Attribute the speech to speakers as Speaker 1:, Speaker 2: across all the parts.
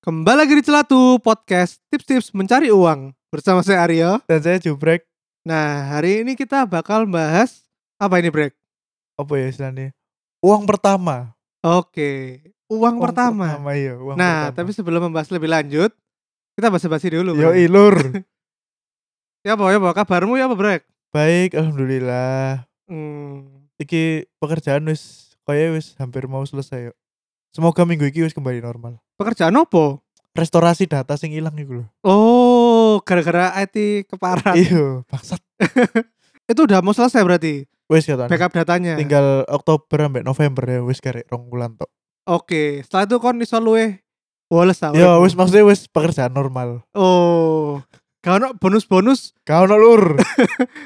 Speaker 1: Kembali lagi di Celatu Podcast Tips-tips mencari uang Bersama saya Aryo
Speaker 2: Dan saya jubrek
Speaker 1: Nah hari ini kita bakal bahas Apa ini Brek?
Speaker 2: apa ya istilahnya? Uang pertama.
Speaker 1: Oke Uang,
Speaker 2: Uang
Speaker 1: pertama.
Speaker 2: iya, uang
Speaker 1: Nah
Speaker 2: pertama.
Speaker 1: tapi sebelum membahas lebih lanjut Kita basa-basi dulu
Speaker 2: yo
Speaker 1: Brek.
Speaker 2: ilur.
Speaker 1: Ya apa ya apa kabarmu ya apa Brek?
Speaker 2: Baik, alhamdulillah.
Speaker 1: Hmm.
Speaker 2: Iki pekerjaan wis kaya wis hampir mau selesai yo. Semoga minggu ini wis kembali normal.
Speaker 1: Pekerjaan apa?
Speaker 2: Restorasi data sing hilang iku lho.
Speaker 1: Oh gara-gara IT keparat
Speaker 2: Iya, bangsat.
Speaker 1: Itu udah mau selesai berarti
Speaker 2: Wis katanya.
Speaker 1: Backup datanya
Speaker 2: Iya. Tinggal Oktober sampai November ya wis karek rong bulan tok.
Speaker 1: Oke setelah itu kon iso luwe Wales tau
Speaker 2: Ya wis maksudnya wis pekerjaan normal.
Speaker 1: Oh Gak ono bonus-bonus
Speaker 2: Kau no lur.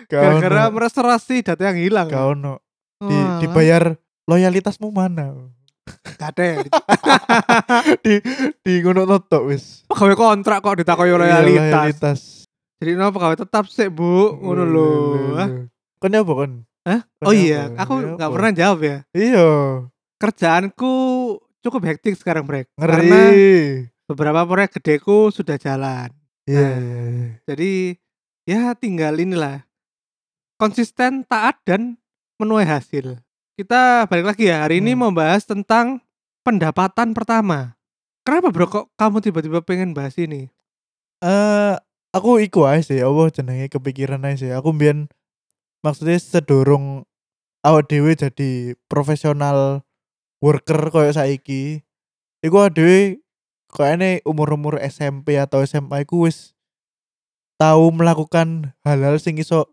Speaker 2: Kau
Speaker 1: Gara-gara
Speaker 2: no.
Speaker 1: merestorasi data yang hilang
Speaker 2: Kau no. Di,
Speaker 1: Wah,
Speaker 2: dibayar loyalitasmu mana?
Speaker 1: Kadek.
Speaker 2: di di ngono tok wis.
Speaker 1: pegawai kontrak kok ditakoni
Speaker 2: Iya,
Speaker 1: loyalitas.
Speaker 2: loyalitas.
Speaker 1: Jadi no pegawai tetap sih bu, ngono lho. Hah?
Speaker 2: ah? Kon apa kon?
Speaker 1: Hah?
Speaker 2: Kon
Speaker 1: Oh
Speaker 2: apa?
Speaker 1: iya,
Speaker 2: Iya,
Speaker 1: aku nggak
Speaker 2: apa?
Speaker 1: pernah jawab ya.
Speaker 2: Iya,
Speaker 1: Kerjaanku cukup hektik sekarang Brek.
Speaker 2: ngeri.
Speaker 1: Karena beberapa proyek gedeku sudah jalan.
Speaker 2: Iya.
Speaker 1: Nah. Jadi ya tinggal inilah konsisten taat dan menuai hasil. Kita balik lagi ya hari ini
Speaker 2: Hmm.
Speaker 1: membahas tentang pendapatan pertama. Kenapa bro kok kamu tiba-tiba pengen bahas ini?
Speaker 2: Eh, aku iku ae sih, apa jenenge kepikiran ae sih. Aku mbiyen maksudnya sedurung awak dhewe jadi profesional worker koyo saiki. Iku awak dhewe kayaknya umur-umur SMP atau SMA iku wis tahu melakukan hal-hal sing iso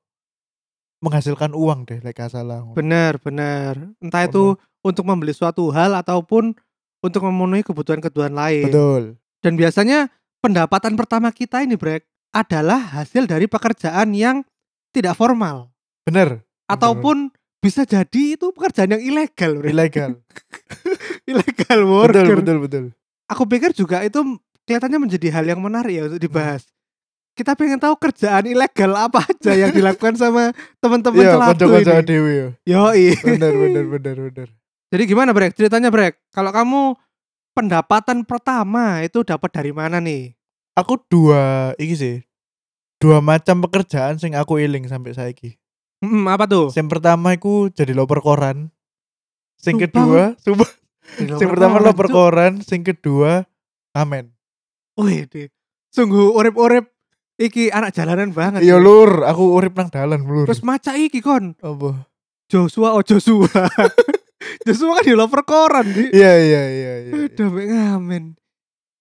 Speaker 2: menghasilkan uang deh, lek gak salah.
Speaker 1: Benar, benar. Entah
Speaker 2: Ono.
Speaker 1: itu untuk membeli suatu hal ataupun untuk memenuhi kebutuhan-kebutuhan lain.
Speaker 2: Betul.
Speaker 1: Dan biasanya pendapatan pertama kita ini, Brek, adalah hasil dari pekerjaan yang tidak formal
Speaker 2: Bener.
Speaker 1: ataupun bisa jadi itu pekerjaan yang ilegal, Brek.
Speaker 2: ilegal.
Speaker 1: ilegal worker.
Speaker 2: betul, betul, betul.
Speaker 1: Aku pikir juga itu kelihatannya menjadi hal yang menarik ya untuk dibahas. Kita pengen tahu kerjaan ilegal apa aja yang dilakukan sama teman-teman
Speaker 2: Iya,
Speaker 1: celatu
Speaker 2: kanca-kanca
Speaker 1: ini.
Speaker 2: dhewe ya.
Speaker 1: Yoi.
Speaker 2: Bener, bener, bener, bener.
Speaker 1: Jadi gimana Brek? Ceritanya Brek, kalau kamu pendapatan pertama itu dapat dari mana nih?
Speaker 2: Aku dua iki sih. Dua macam pekerjaan sing aku iling sampai saiki.
Speaker 1: Hmm, apa tuh?
Speaker 2: Yang pertama iku jadi loper koran. Sing
Speaker 1: Sumpah.
Speaker 2: kedua, sumpah. Sing pertama loper
Speaker 1: Cuk.
Speaker 2: koran, sing kedua amen.
Speaker 1: Wih, Dik. sungguh urip-urip iki anak jalanan banget.
Speaker 2: Iya
Speaker 1: Dik.
Speaker 2: lur, aku urip nang dalan lur.
Speaker 1: Terus maca iki kon,
Speaker 2: apa?
Speaker 1: Joshua oh Joshua. Joshua kan di loper koran, Dik.
Speaker 2: Iya, iya, iya, iya.
Speaker 1: Aduh, mek ngamen.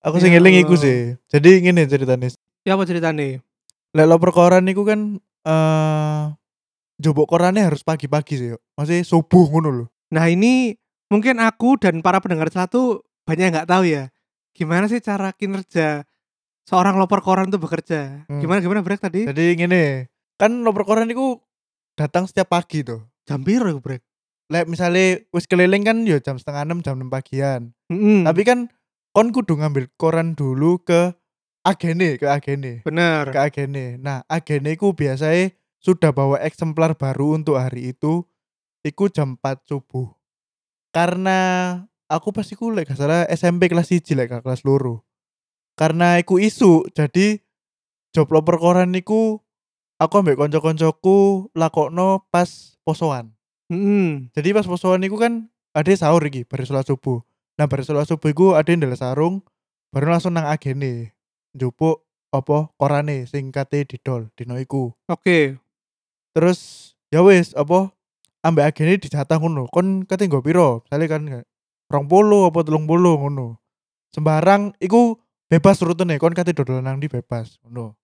Speaker 2: Aku sing
Speaker 1: Ya
Speaker 2: iling iku
Speaker 1: Allah.
Speaker 2: sih. Jadi ngene ceritane.
Speaker 1: Ya apa ceritanya?
Speaker 2: Lek loper koran niku kan eh jobok korannya harus pagi-pagi sih, yuk. Masih subuh ngono lho.
Speaker 1: Nah, ini mungkin aku dan para pendengar satu banyak yang nggak tahu ya. Gimana sih cara kinerja seorang loper koran itu bekerja?
Speaker 2: Hmm.
Speaker 1: Gimana gimana Brek tadi?
Speaker 2: Jadi ngene, kan loper koran niku datang setiap pagi tuh.
Speaker 1: jam biru ya brek
Speaker 2: Lek misalnya wis keliling kan ya jam setengah enam jam enam pagian.
Speaker 1: Mm-mm.
Speaker 2: Tapi kan kon kudu ngambil koran dulu ke agene, ke agene, ke
Speaker 1: bener
Speaker 2: agene. Nah, agene ku biasanya sudah bawa eksemplar baru untuk hari itu. Iku jam 4 subuh. Karena aku pasti ku lek gak salah SMP kelas 1 lek gak kelas loro. Karena iku isu, jadi job loper koran niku aku ambek konco-koncoku lakokno pas posoan.
Speaker 1: Mm-mm.
Speaker 2: Jadi pas posoan niku kan ada sahur iki baru sholat subuh. Nah baru sholat subuh iku ada yang sarung baru langsung nang agene njupuk apa korane sing kate didol dino iku.
Speaker 1: oke
Speaker 2: Terus ya wis apa ambek agene dijatah ngono. Kon kate nggo piro? Misale kan 20 apa 30 ngono. Sembarang iku bebas rutene kon kate dodol nang di bebas ngono.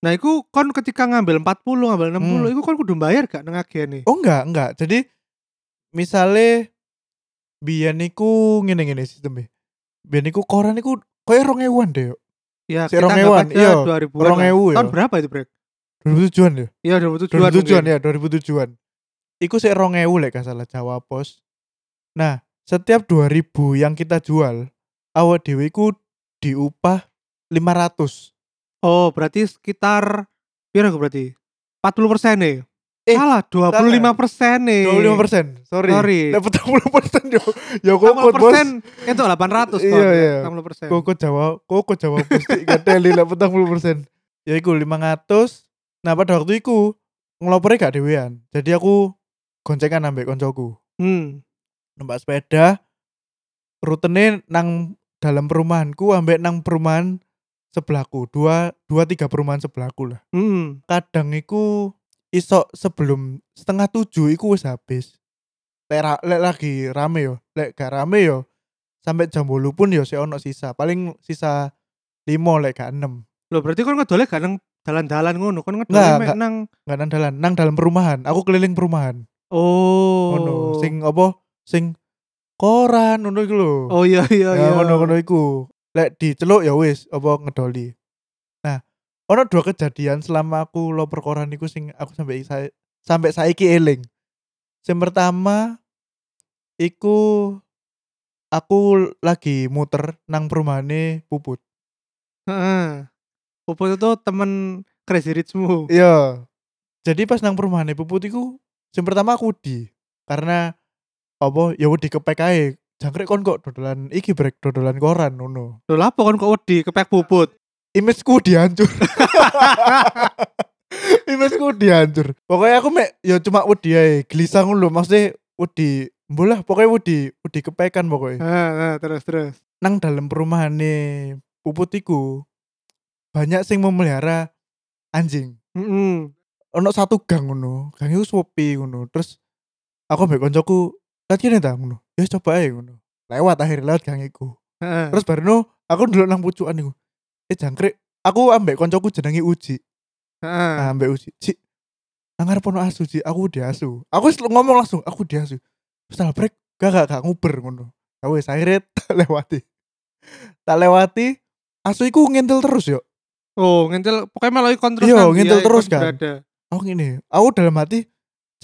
Speaker 1: nah itu kon ketika ngambil 40 ngambil 60
Speaker 2: Hmm.
Speaker 1: itu kon kudu bayar gak nang agen e? nih
Speaker 2: Oh enggak, enggak. Jadi misale biyen niku ngene-ngene sistemnya. Biyen e. niku koran niku koyo 2000-an deh. yuk.
Speaker 1: ya
Speaker 2: si orang ewan, iya,
Speaker 1: 2000
Speaker 2: orang ewu ya.
Speaker 1: tahun berapa itu brek
Speaker 2: 2007-an ya.
Speaker 1: iya 2007
Speaker 2: 2007-an
Speaker 1: mungkin.
Speaker 2: ya, 2007-an. iku sik 2000 lek gak salah Jawa Pos. Nah, setiap 2000 yang kita jual, awak dhewe iku diupah 500.
Speaker 1: Oh, berarti sekitar pira aku berarti? 40 persen nih.
Speaker 2: Eh,
Speaker 1: Salah, 25 persen nih.
Speaker 2: 25%, sorry.
Speaker 1: Sorry.
Speaker 2: Lek 40% yo yo
Speaker 1: puluh
Speaker 2: kokot bos.
Speaker 1: persen itu 800
Speaker 2: Iya, iya.
Speaker 1: 60 persen.
Speaker 2: Kokot Jawa, kokot Jawa Pos cik, ngadeli lek 40%. Ya iku 500. Nah, pada waktu iku ngelopere gak dhewean. Jadi aku goncengan ambek koncoku.
Speaker 1: Hmm.
Speaker 2: numpak sepeda rutene nang dalam perumahanku ambek nang perumahan sebelahku dua dua tiga perumahan sebelahku lah
Speaker 1: Hmm.
Speaker 2: kadang iku isok sebelum setengah tujuh iku wis habis lek, ra- lek lagi rame yo lek gak rame yo sampai jam bolu pun yo si ono sisa paling sisa limo lek gak enam
Speaker 1: Loh, berarti kan ngedolek gak nang dalan-dalan ngono, kan ngedolek
Speaker 2: Nggak,
Speaker 1: mek
Speaker 2: nggak.
Speaker 1: nang
Speaker 2: nggak nang dalan nang dalam perumahan aku keliling perumahan
Speaker 1: Oh.
Speaker 2: ngono sing apa sing koran ngono iku lho
Speaker 1: Oh iya iya iya.
Speaker 2: ya ngono-ngono iku. Lek diceluk ya wis apa ngedoli. Nah, ono dua kejadian selama aku lo perkoran iku sing aku sampai sa- sampai saiki eling. Sing pertama iku aku lagi muter nang perumahane Puput.
Speaker 1: Heeh. Puput itu temen Crazy Richmu.
Speaker 2: Iya. Jadi pas nang perumahane Puput iku sing pertama aku di karena apa ya wedi kepek ae. Jangkrik kon kok dodolan iki brek dodolan koran ngono.
Speaker 1: Loh, lapo kon kok wedi kepek puput?
Speaker 2: imageku dihancur. imageku dihancur. Pokoknya aku mek ya cuma wedi ae, gelisah ngono lho, maksudnya wedi mbolah pokoknya wedi wedi kepekan pokoknya.
Speaker 1: Heeh, heeh, terus terus.
Speaker 2: Nang dalam perumahan puputiku banyak sing memelihara anjing.
Speaker 1: Heeh.
Speaker 2: Ono satu gang ngono, gang itu sepi ngono. Terus aku mbek koncoku, "Lihat kene ta ngono." Ya wis, coba ae ngono. Lewat akhirnya lewat gang iku.
Speaker 1: Heeh.
Speaker 2: Terus barno aku ndelok nang pucukan iku. Eh jangkrik, aku ambek koncoku jenengi Uji.
Speaker 1: Heeh.
Speaker 2: Nah, ambek uji cik nangar pono asu cik aku diasu aku wis ngomong langsung aku diasu terus tak break gak gak gak nguber ngono ya wis akhirnya tak lewati tak lewati asu iku ngintil terus yo
Speaker 1: Oh, ngintil pokoknya melalui kontrol
Speaker 2: Iya, ngintil terus kan. aku ngene aku dalam hati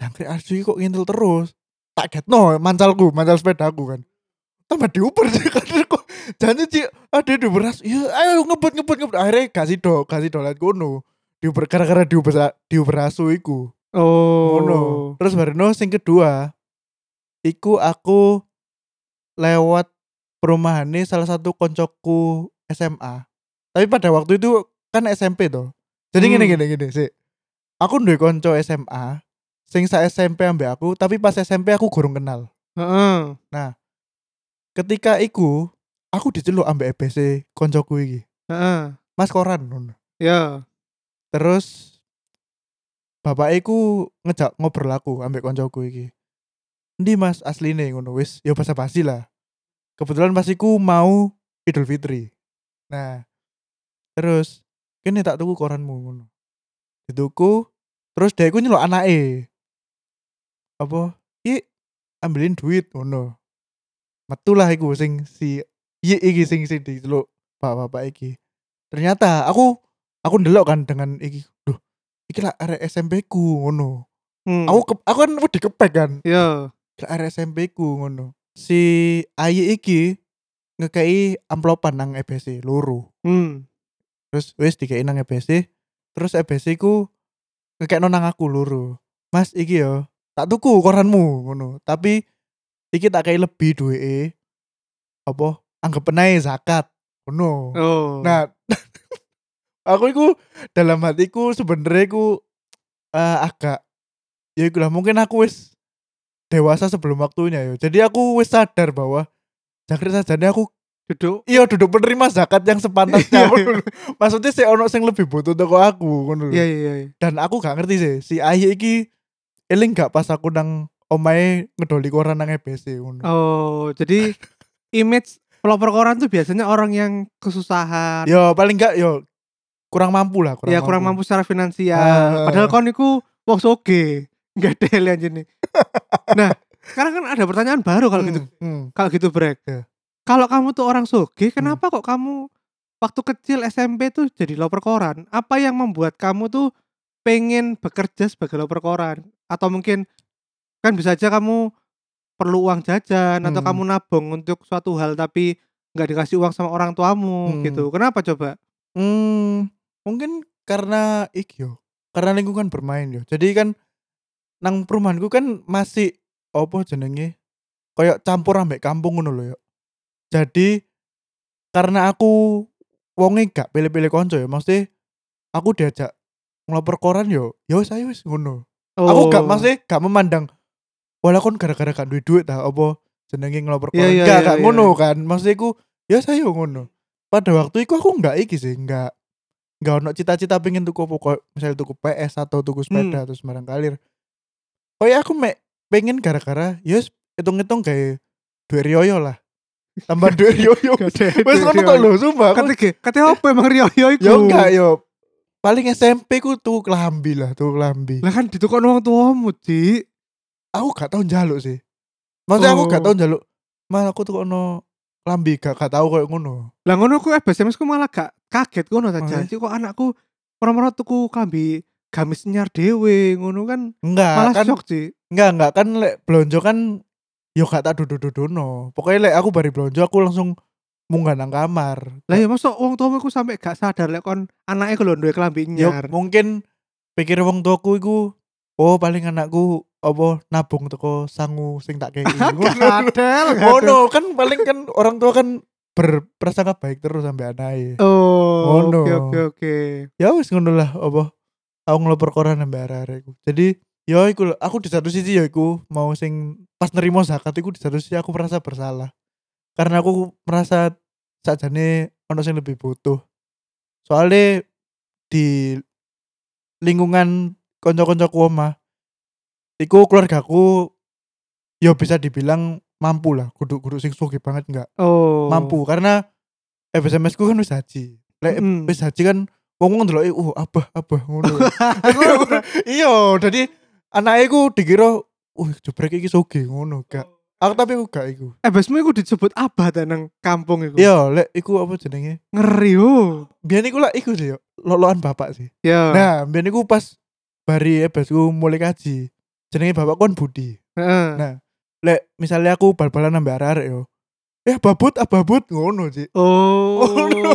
Speaker 2: jangkrik asu iki kok ngintil terus tak getno mancalku mancal sepedaku kan tambah diuber cik Karena kok janji cik ada di beras iya ayo ngebut ngebut ngebut akhirnya kasih do kasih dolat kono diuber gara-gara diuber diuber asu iku
Speaker 1: Oh.
Speaker 2: Ngono. Terus barno sing kedua, iku aku lewat perumahane salah satu koncoku SMA. Tapi pada waktu itu kan SMP toh. Jadi
Speaker 1: Hmm.
Speaker 2: gini gini gini sih. Aku duwe konco SMA, sing sa SMP ambek aku, tapi pas SMP aku gurung kenal.
Speaker 1: Heeh.
Speaker 2: Ketika iku, aku diceluk ambek EBC koncoku iki.
Speaker 1: Heeh.
Speaker 2: Mas koran ngono.
Speaker 1: Ya.
Speaker 2: Terus bapak iku ngejak ngobrol aku ambek koncoku iki. Ndi Mas asline ngono wis ya basa basi lah. Kebetulan pas iku mau Idul Fitri. Nah, terus kene tak tuku koranmu ngono. Dituku terus dhek iku nyeluk anake. Apa? Ki ambilin duit ngono. Metu lah iku sing si iya iki sing sing diceluk bapak-bapak iki. Ternyata aku aku ndelok kan dengan iki duh iki lah arek SMP ku ngono
Speaker 1: Hmm.
Speaker 2: aku ke, aku kan wedi kepek kan
Speaker 1: Ya.
Speaker 2: "Iki lah arek SMP ku ngono si Ayi iki ngekei amplopan nang EBC loro
Speaker 1: Hmm.
Speaker 2: terus wis dikei nang EBC terus EBC ku ngekekno nang aku loro mas iki yo tak tuku koranmu ngono tapi iki tak kei lebih duwe apa anggap ae zakat ngono
Speaker 1: Oh.
Speaker 2: Nah, aku itu dalam hatiku sebenarnya aku eh, agak ya iku lah mungkin aku wis dewasa sebelum waktunya ya. Jadi aku wis sadar bahwa jangkrik sajane aku
Speaker 1: duduk.
Speaker 2: iya duduk penerima zakat yang
Speaker 1: Iya,
Speaker 2: sepantasnya
Speaker 1: iya.
Speaker 2: ngono lho. Maksudnya si ono sing lebih butuh toko aku ngono lho.
Speaker 1: Iya iya iya.
Speaker 2: Dan aku gak ngerti sih si Ayi iki eling gak pas aku nang omae ngedoli koran nang EBC ngono.
Speaker 1: Oh, jadi image pelopor koran tuh biasanya orang yang kesusahan.
Speaker 2: Yo Ya, paling gak yo kurang mampu lah kurang
Speaker 1: ya kurang mampu secara finansial.
Speaker 2: Ah.
Speaker 1: Padahal kon iku wong soge, enggak dele anjene. nah, sekarang kan ada pertanyaan baru kalau gitu.
Speaker 2: Hmm, hmm.
Speaker 1: Kalau gitu Brek.
Speaker 2: Ya. Hmm.
Speaker 1: Kalau kamu tuh orang soge, kenapa kok kamu waktu kecil SMP tuh jadi loper koran? Apa yang membuat kamu tuh pengen bekerja sebagai loper koran? Atau mungkin kan bisa aja kamu perlu uang jajan atau
Speaker 2: Hmm.
Speaker 1: kamu nabung untuk suatu hal tapi nggak dikasih uang sama orang tuamu
Speaker 2: Hmm.
Speaker 1: gitu kenapa coba
Speaker 2: Hmm, mungkin karena iki yo. Karena lingkungan bermain yo. Jadi kan nang perumahanku kan masih opo jenenge? Kayak campur ambek kampung ngono lho yo. Jadi karena aku wonge gak pilih-pilih konco ya, mesti aku diajak ngelopor koran yo. Ya wis ayo wis ngono. Aku
Speaker 1: Oh.
Speaker 2: gak maksudnya gak memandang wala kon gara-gara gak duwe duit ta opo jenenge ngelopor
Speaker 1: Iya,
Speaker 2: koran.
Speaker 1: iya,
Speaker 2: gak
Speaker 1: iya,
Speaker 2: gak
Speaker 1: iya.
Speaker 2: ngono kan. Maksudnya aku ya saya ngono pada waktu itu aku nggak iki sih nggak nggak ono cita-cita pengen tuku apa koyo misalnya tuku PS atau tuku
Speaker 1: Hmm.
Speaker 2: sepeda atau sembarang kalir oh ya aku mek pengen gara-gara yes hitung-hitung kayak duit rioyo lah tambah duit rioyo wes ngono tok lho sumpah aku-
Speaker 1: katanya katanya apa emang rioyo itu
Speaker 2: ya enggak yo paling SMP ku tuh kelambi lah tuh kelambi
Speaker 1: lah kan ditukar uang tuamu Ci.
Speaker 2: aku gak tau njaluk sih maksudnya aku gak
Speaker 1: Oh.
Speaker 2: tau njaluk mal aku tuh ono kelambi gak gak tau kayak ngono
Speaker 1: lah ngono aku SMS ku malah gak kaget ngono ta
Speaker 2: Malah?
Speaker 1: janji kok anakku orang-orang tuku kambi gamis nyar dewe ngono kan
Speaker 2: enggak
Speaker 1: malah
Speaker 2: kan
Speaker 1: shock sih
Speaker 2: Enggak, enggak kan lek blonjo kan yo gak tak dudu-duduno. Pokoknya lek aku bari blonjo aku langsung munggah nang kamar.
Speaker 1: lah ya masa uang tuamu aku sampai gak sadar lek kon anaknya kalau duwe kelambi
Speaker 2: Yo,
Speaker 1: nyar
Speaker 2: mungkin pikir wong tuaku iku oh paling anakku apa nabung teko sangu sing tak kei. Ngono.
Speaker 1: Kadel, kadel.
Speaker 2: Ngono, kan paling kan orang tua kan berprasangka baik terus sampai anake.
Speaker 1: Oh,
Speaker 2: Ngono.
Speaker 1: oke oke oke.
Speaker 2: Ya wis ngono lah apa aku ngelopor koran sampai arek iku. Jadi yo iku lho, aku di satu sisi yo iku mau sing pas nerimo zakat iku di satu sisi aku merasa bersalah. Karena aku merasa sajane ono sing lebih butuh. Soalnya di lingkungan kanca-kancaku omah iku keluargaku yo bisa dibilang mampu lah, kudu-kudu sing sugih banget enggak
Speaker 1: Oh.
Speaker 2: mampu karena FSMS ku kan wis haji. Lek
Speaker 1: Mm.
Speaker 2: wis haji kan wong wong ndeloki uh abah abah ngono. iya, jadi anake ku dikira uh jebrek iki soge ngono gak. Aku tapi aku gak iku.
Speaker 1: Eh, besmu iku disebut abah ta nang kampung iku.
Speaker 2: Iya, lek iku apa jenenge?
Speaker 1: Ngeri ho.
Speaker 2: Biyen iku lah iku sih yo, lolokan bapak sih.
Speaker 1: Ya.
Speaker 2: Nah, biyen iku pas bari FSMS mulai kaji. Jenenge bapak kon Budi.
Speaker 1: Heeh.
Speaker 2: Nah. Lek misalnya aku bal-balan nambah arek yo. Eh babut ababut ngono sih.
Speaker 1: Oh.
Speaker 2: Oh, no.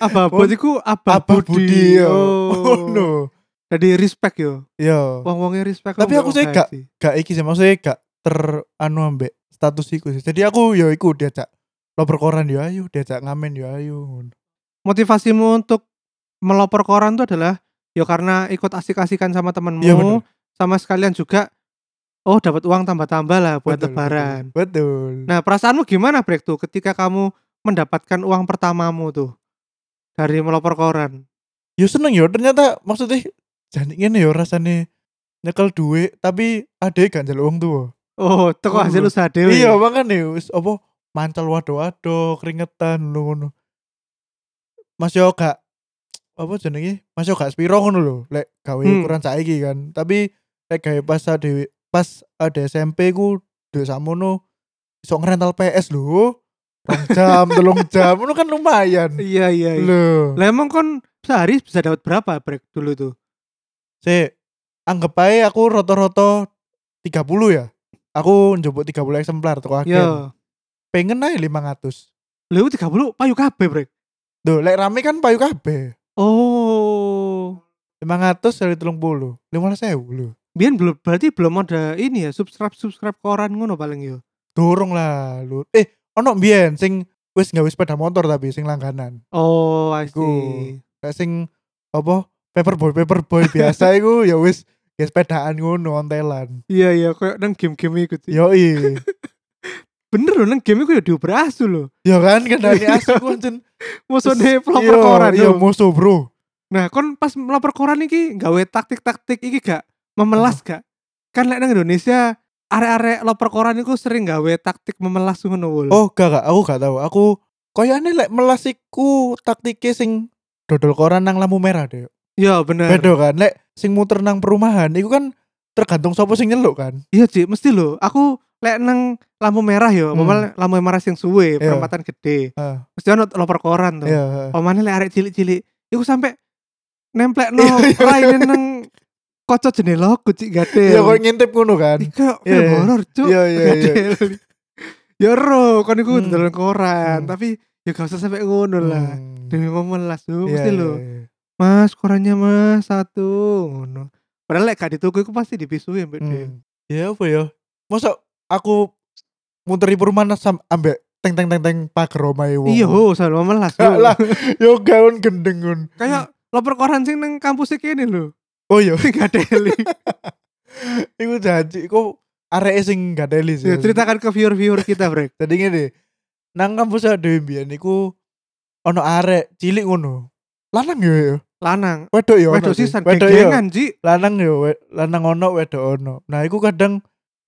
Speaker 1: Abah
Speaker 2: Oh,
Speaker 1: bud iku abah,
Speaker 2: Abah Budi yo.
Speaker 1: Oh.
Speaker 2: Ngono. Iya.
Speaker 1: Jadi respect yo.
Speaker 2: Yo.
Speaker 1: Wong-wonge respect.
Speaker 2: Tapi
Speaker 1: wong
Speaker 2: aku
Speaker 1: gak
Speaker 2: sih
Speaker 1: mau
Speaker 2: gak-
Speaker 1: gaji.
Speaker 2: gak iki sih maksudnya gak ter anu ambek status iku sih. Jadi aku yo iku diajak loper koran yo ayo, diajak ngamen yo ayo.
Speaker 1: Motivasimu untuk melopor koran itu adalah ya karena ikut asik-asikan sama temenmu.
Speaker 2: Iya, bener.
Speaker 1: sama sekalian juga oh dapat uang tambah-tambah lah buat
Speaker 2: Betul,
Speaker 1: lebaran.
Speaker 2: Betul. betul.
Speaker 1: Nah, perasaanmu gimana Brek tuh ketika kamu mendapatkan uang pertamamu tuh dari melopor koran?
Speaker 2: Yo seneng yo ternyata maksudnya janji ngene yo rasane nyekel duit tapi ade gak njaluk wong tuwa.
Speaker 1: Oh, teko
Speaker 2: Oh,
Speaker 1: hasil
Speaker 2: lho.
Speaker 1: usaha dewe.
Speaker 2: Iya makane wis apa mancal wado-wado keringetan ngono. Mas yo gak apa jenenge? Mas yo gak spiro ngono lho lek gawe
Speaker 1: Hmm.
Speaker 2: ukuran saiki kan. Tapi lek gawe pas ade pas ada SMP ku duwe samono iso ngerental PS lho. Rong jam, telung jam, ngono kan lumayan.
Speaker 1: Iya, iya. iya.
Speaker 2: Lho.
Speaker 1: Lah emang kon sehari bisa dapat berapa Brek dulu tuh?
Speaker 2: Sik, anggap ae aku roto-roto 30 ya. Aku njupuk 30 eksemplar toko agen.
Speaker 1: Iya.
Speaker 2: Pengen ae 500.
Speaker 1: Lho 30 payu kabeh Brek.
Speaker 2: Duh, lek rame kan payu kabeh.
Speaker 1: Oh.
Speaker 2: 500 dari 30. 15.000 lho.
Speaker 1: Biar belum berarti belum ada ini ya subscribe-subscribe koran ngono paling yo.
Speaker 2: Dorong lah lu. Eh, ono mbiyen sing wis gawe sepeda motor tapi sing langganan.
Speaker 1: Oh, I see.
Speaker 2: Iku. Lek sing apa paperboy paperboy biasa iku ya wis ya sepedaan ngono ontelan.
Speaker 1: Iya, iya, kayak nang game-game iku.
Speaker 2: Iya.
Speaker 1: sih.
Speaker 2: Yoi.
Speaker 1: Bener loh nang game iku ya dioper asu lho.
Speaker 2: ya kan kendali asu ku jen.
Speaker 1: Musuhne pelopor
Speaker 2: Iya,
Speaker 1: koran
Speaker 2: Iya,
Speaker 1: lho.
Speaker 2: musuh, Bro.
Speaker 1: Nah, kon pas melapor koran iki gawe taktik-taktik iki gak memelas gak? Kan lek nang Indonesia arek-arek lapor koran iku sering gawe taktik memelas ngono lho.
Speaker 2: Oh, gak gak, aku gak tahu. Aku koyane lek melasiku taktike sing dodol koran nang lampu merah deh.
Speaker 1: iya bener.
Speaker 2: Beda kan lek sing muter nang perumahan iku kan tergantung sapa sing nyeluk kan.
Speaker 1: Iya, Ci, mesti lho. Aku lek nang lampu merah yo,
Speaker 2: Hmm.
Speaker 1: umpama lampu merah sing suwe,
Speaker 2: Iya.
Speaker 1: perempatan gede.
Speaker 2: Heeh.
Speaker 1: Mesti ono lapor koran to.
Speaker 2: Ah, Iya. heeh.
Speaker 1: Omane lek arek cilik-cilik iku sampe nemplekno
Speaker 2: Iya, iya.
Speaker 1: raine nang kaca jendela aku cik gatel.
Speaker 2: Ya kok ngintip ngono kan.
Speaker 1: Iki kayak
Speaker 2: Iya,
Speaker 1: film
Speaker 2: iya.
Speaker 1: horor, Cuk.
Speaker 2: Iya, iya, iya.
Speaker 1: Gatel. Ya ro, kan iku
Speaker 2: Hmm.
Speaker 1: dalam koran,
Speaker 2: Hmm.
Speaker 1: tapi ya gak usah sampai ngono lah.
Speaker 2: Hmm.
Speaker 1: Demi memelas tuh,
Speaker 2: Iya,
Speaker 1: mesti
Speaker 2: iya,
Speaker 1: lo.
Speaker 2: iya.
Speaker 1: Mas, korannya Mas satu ngono. Padahal lek gak dituku iku pasti dipisui ambek
Speaker 2: Hmm.
Speaker 1: dia.
Speaker 2: Ya apa ya? Masa aku muteri perumahan sam ambek teng teng teng teng pager omahe wong.
Speaker 1: Iya, ho, selalu memelas.
Speaker 2: Gak
Speaker 1: ho.
Speaker 2: lah. Yo gaun gendeng kon.
Speaker 1: Kayak loper koran sing nang kampus iki ini lho.
Speaker 2: Oh iya,
Speaker 1: Gadeli.
Speaker 2: iku janji iku areke sing gak teli sih.
Speaker 1: Ya, ceritakan ke viewer-viewer kita, Brek.
Speaker 2: Jadi ngene, nang kampus aku dhewe mbiyen iku ono arek cilik ngono. Lanang yo yo.
Speaker 1: Lanang.
Speaker 2: Wedok yo. ono
Speaker 1: Wedok
Speaker 2: sih.
Speaker 1: sisan
Speaker 2: Wedok iya. yo.
Speaker 1: gegengan, Ji.
Speaker 2: Lanang yo, we- lanang ono, wedok ono. Nah, iku kadang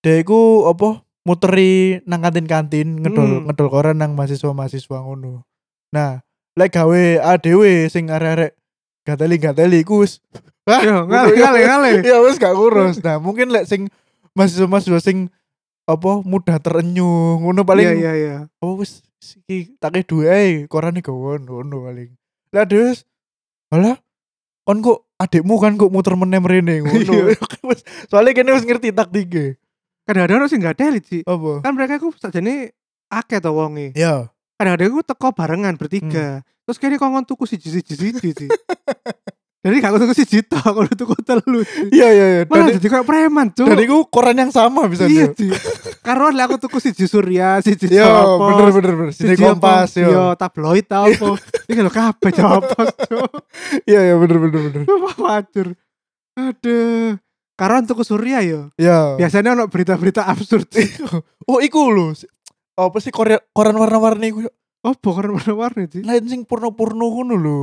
Speaker 2: dia iku apa muteri nang kantin-kantin
Speaker 1: Hmm.
Speaker 2: ngedol ngedol koran nang mahasiswa-mahasiswa ngono. Nah, lek gawe adewe sing arek-arek gateli gateli iku wis
Speaker 1: Yo, ngale ngale ngale.
Speaker 2: ya wis gak kurus. Nah, mungkin lek sing mahasiswa-mahasiswa sing apa mudah terenyuh ngono paling
Speaker 1: Iya, iya, iya.
Speaker 2: oh wis iki take duwe ae korane gawa ngono paling lah dhewe wis alah kon kok adikmu kan kok muter meneh mrene ngono
Speaker 1: Iya.
Speaker 2: Wis, soalnya kene wis ngerti taktike
Speaker 1: Kadang-kadang orang sing gadeli, Ji.
Speaker 2: apa
Speaker 1: Kan mereka iku sakjane akeh to wonge.
Speaker 2: ya
Speaker 1: kadang-kadang gue teko barengan bertiga
Speaker 2: Hmm.
Speaker 1: terus kayaknya kau ngon tuku siji siji siji sih jadi gak aku tuku siji tok aku tuku telu Ci.
Speaker 2: iya iya iya
Speaker 1: malah
Speaker 2: dari
Speaker 1: jadi kayak preman cuy
Speaker 2: dari ku koran yang sama bisa
Speaker 1: iya
Speaker 2: Cuk.
Speaker 1: sih karuan lah aku tuku siji surya siji
Speaker 2: iya
Speaker 1: Sopo,
Speaker 2: bener bener bener sini
Speaker 1: apa,
Speaker 2: kompas
Speaker 1: iya
Speaker 2: yo
Speaker 1: tabloid tau apa ini lo kabeh jopos cuy
Speaker 2: iya iya bener bener bener
Speaker 1: wajur aduh karuan tuku surya yo
Speaker 2: iya
Speaker 1: biasanya ono berita-berita absurd sih
Speaker 2: oh iku lho Si- apa sih koran koran warna-warni iku
Speaker 1: oh bukan warna-warni sih
Speaker 2: lain sing porno-porno ngono lho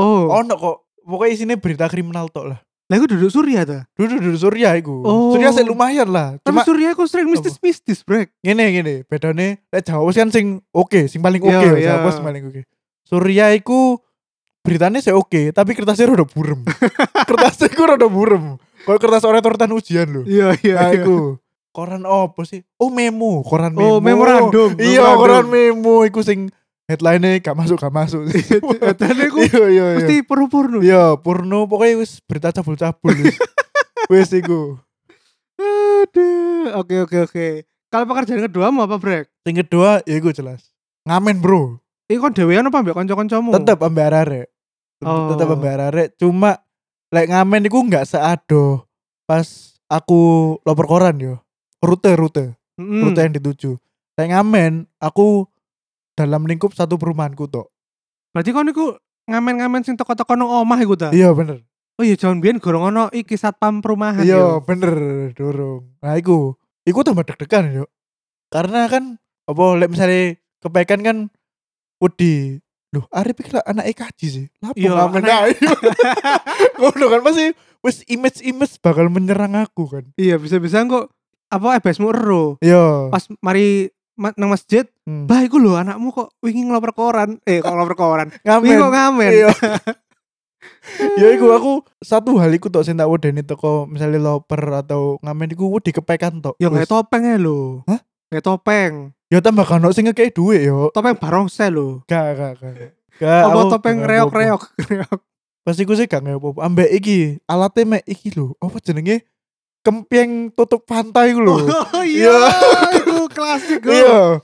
Speaker 1: oh
Speaker 2: ono kok pokoknya isinya berita kriminal tok lah
Speaker 1: lah aku duduk surya ta
Speaker 2: Dulu dulu Surya ya, iku.
Speaker 1: Oh.
Speaker 2: Surya sih lumayan lah.
Speaker 1: tapi
Speaker 2: Cuma
Speaker 1: surya aku sering
Speaker 2: Apa?
Speaker 1: mistis-mistis brek
Speaker 2: ngene ngene, bedane lek Jawa West kan sing oke, sing paling oke,
Speaker 1: Iya,
Speaker 2: Jawa
Speaker 1: iya.
Speaker 2: West paling oke. Surya iku beritanya sih oke, tapi kertasnya rada burem. kertasnya iku rada burem. Kok kertas oret-oretan ujian lho.
Speaker 1: iya iya
Speaker 2: Nah,
Speaker 1: iya
Speaker 2: iku. Koran apa sih? Oh, memo, koran
Speaker 1: Oh,
Speaker 2: memo.
Speaker 1: memorandum,
Speaker 2: Iya,
Speaker 1: memorandum.
Speaker 2: koran memo iku sing headline-nya gak masuk gak masuk.
Speaker 1: Headline-nya iku
Speaker 2: Iya, iya, iya.
Speaker 1: mesti purno-purno
Speaker 2: Iya, porno pokoknya wis berita cabul-cabul. wis. Wis iku.
Speaker 1: aduh oke oke oke kalau pekerjaan kedua mau apa brek
Speaker 2: Sing kedua ya iku jelas. Ngamen, Bro.
Speaker 1: ini kon dewean apa ambek kanca-kancamu
Speaker 2: Tetep ambek arek.
Speaker 1: Oh.
Speaker 2: Tetep ambek arek, cuma lek ngamen iku nggak seado pas aku loper koran yo. Rute rute,
Speaker 1: Mm-mm.
Speaker 2: rute yang dituju. Lek ngamen aku dalam lingkup satu perumahanku tok.
Speaker 1: berarti kon iku ngamen-ngamen sing toko-toko nang omah iku ta
Speaker 2: Iya bener.
Speaker 1: oh iya jangan biyen gorong ono iki satpam perumahan
Speaker 2: Iya bener dorong. Nah iku, iku tambah deg-degan yo. Karena kan apa lek misalnya kepekan kan wedi Duh, Arif iki lah anak kaji sih. Lapo
Speaker 1: Iya,
Speaker 2: ngamen
Speaker 1: anak-
Speaker 2: ae. Ngono kan pasti wis image-image bakal menyerang aku kan.
Speaker 1: iya bisa-bisa kok apa ebesmu
Speaker 2: Oh.
Speaker 1: ero
Speaker 2: Yo.
Speaker 1: pas mari ma- nang masjid
Speaker 2: Iya. Hmm.
Speaker 1: bah iku lho anakmu kok wingi ngeloper koran eh kok ngeloper koran wingi kok
Speaker 2: Ngamen.
Speaker 1: ngamen
Speaker 2: Iya. ya iku aku satu hal iku tok sing tak wedeni teko misale loper atau ngamen iku wedi kepekan tok.
Speaker 1: ya nggak
Speaker 2: Wis.
Speaker 1: topeng ya lho
Speaker 2: Hah?
Speaker 1: nggak topeng
Speaker 2: Ya tambah kan sing ngekei dhuwit yo.
Speaker 1: topeng barongsai lho
Speaker 2: Gak gak gak. Gak.
Speaker 1: apa
Speaker 2: aku
Speaker 1: topeng
Speaker 2: gak apa-apa.
Speaker 1: reok-reok
Speaker 2: oh.
Speaker 1: reok
Speaker 2: Pasti ku sih gak ngepo. Ambek iki alate mek iki lho. Apa jenenge? Kempyeng tutup pantai ku lho.
Speaker 1: Oh
Speaker 2: Iya.
Speaker 1: iya, itu klasik gue.
Speaker 2: Iya.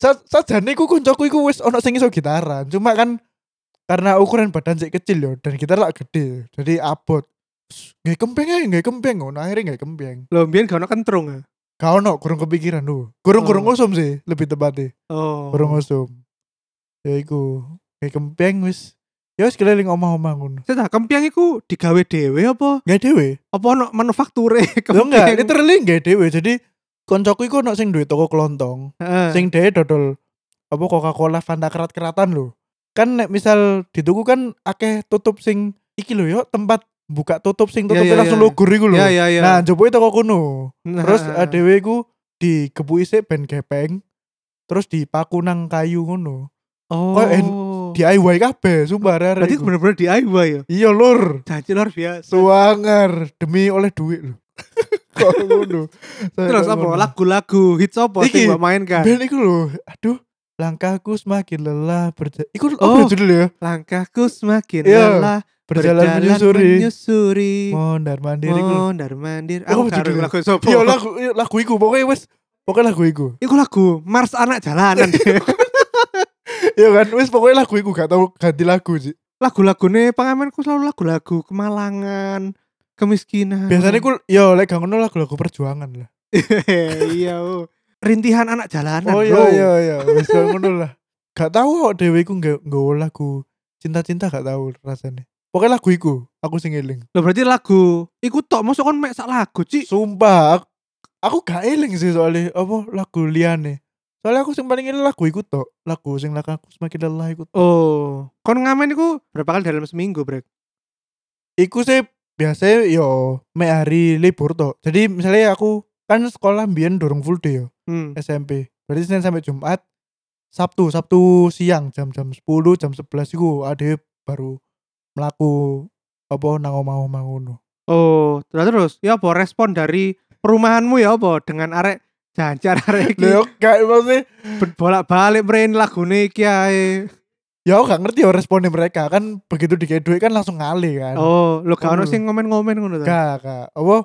Speaker 2: Sa- Sajane ku koncoku iku wis ono sing iso gitaran. Cuma kan karena ukuran badan sik kecil yo dan gitar lak gede. Jadi abot. Nggih kempeng ae, nggih kempeng ngono akhirnya nggih kempeng.
Speaker 1: Loh, mbiyen gak ono kentrung ya?
Speaker 2: Gak ono kurang kepikiran lho. Kurang-kurang
Speaker 1: Oh.
Speaker 2: usum sih lebih tepatnya.
Speaker 1: Oh.
Speaker 2: Kurang usum. Ya iku. Nggih kempeng wis. Ya wis keliling omah-omah ngono.
Speaker 1: Saya tak kempiang iku digawe dhewe apa?
Speaker 2: Nggak dhewe.
Speaker 1: Apa ono manufakture
Speaker 2: Lho enggak,
Speaker 1: kempiang?
Speaker 2: literally enggak dhewe. Jadi koncoku iku ono sing duwe toko kelontong,
Speaker 1: Heeh.
Speaker 2: sing dhewe dodol apa Coca-Cola Fanta kerat-keratan lho. Kan nek misal dituku kan akeh tutup sing iki lho yo tempat buka tutup sing
Speaker 1: Ya,
Speaker 2: tutupnya
Speaker 1: ya, ya.
Speaker 2: langsung lugur iku lho.
Speaker 1: Ya ya ya.
Speaker 2: Nah, njoboke toko kono.
Speaker 1: Nah,
Speaker 2: Terus uh, dhewe iku digebuki sik ben gepeng. Terus dipaku nang kayu ngono.
Speaker 1: Oh.
Speaker 2: kok en- DIY kabeh sumpah rare.
Speaker 1: Berarti
Speaker 2: iku.
Speaker 1: bener-bener DIY ya.
Speaker 2: Iya lur.
Speaker 1: Janji luar biasa.
Speaker 2: Suwanger demi oleh duit lho. Kok ngono. Saya
Speaker 1: Terus
Speaker 2: kok
Speaker 1: apa?
Speaker 2: ngono.
Speaker 1: Lagu-lagu hits apa
Speaker 2: Iki.
Speaker 1: sing mbak mainkan?
Speaker 2: Ben iku lho, aduh, langkahku semakin lelah berja.
Speaker 1: Oh.
Speaker 2: Iku apa judul ya?
Speaker 1: Langkahku semakin
Speaker 2: Iya.
Speaker 1: lelah
Speaker 2: berjalan, menyusuri.
Speaker 1: menyusuri. Oh.
Speaker 2: Mondar mandiri ku.
Speaker 1: Mondar mandir.
Speaker 2: Aku
Speaker 1: Aku karo
Speaker 2: judulnya.
Speaker 1: lagu sopo.
Speaker 2: Yo lagu yo, lagu iku pokoknya wis pokoknya lagu iku.
Speaker 1: Iku lagu Mars anak jalanan.
Speaker 2: Iya kan wis pokoknya lagu iku gak tau ganti lagu sih.
Speaker 1: Lagu-lagune pengamenku selalu lagu-lagu kemalangan, kemiskinan.
Speaker 2: Biasanya ku yo lek gak ngono lagu-lagu perjuangan lah.
Speaker 1: iya. oh. Rintihan anak jalanan.
Speaker 2: Oh iya
Speaker 1: bro.
Speaker 2: iya iya wis gak ngono lah. Gak tau kok dhewe iku gak nggawa lagu cinta-cinta gak tau rasanya. Pokoknya lagu iku aku sing eling.
Speaker 1: Loh, berarti lagu iku tok mosok kon mek sak lagu, Cik.
Speaker 2: Sumpah aku, aku gak eling sih soalnya apa lagu liane. Soalnya aku sing paling eling lagu iku tok, lagu sing laka aku semakin lelah iku.
Speaker 1: Oh, kon ngamen iku berapa kali dalam seminggu, Brek?
Speaker 2: Iku sih biasanya yo me hari libur tok. Jadi misalnya aku kan sekolah mbiyen dorong full day yo
Speaker 1: Hmm.
Speaker 2: SMP. Berarti Senin sampai Jumat, Sabtu, Sabtu siang jam-jam 10, jam 11 iku ade baru melaku apa nang omah-omah ngono.
Speaker 1: Oh, terus terus ya apa respon dari perumahanmu ya apa dengan arek jancar arek iki
Speaker 2: Lha yo gak maksudnya
Speaker 1: bolak-balik main lagune iki ae.
Speaker 2: ya aku gak ngerti yo responnya mereka kan begitu dikei duit kan langsung ngalih kan.
Speaker 1: Oh, lu gak ono
Speaker 2: Oh.
Speaker 1: sing ngomen-ngomen ngono ta?
Speaker 2: Gak, gak. Apa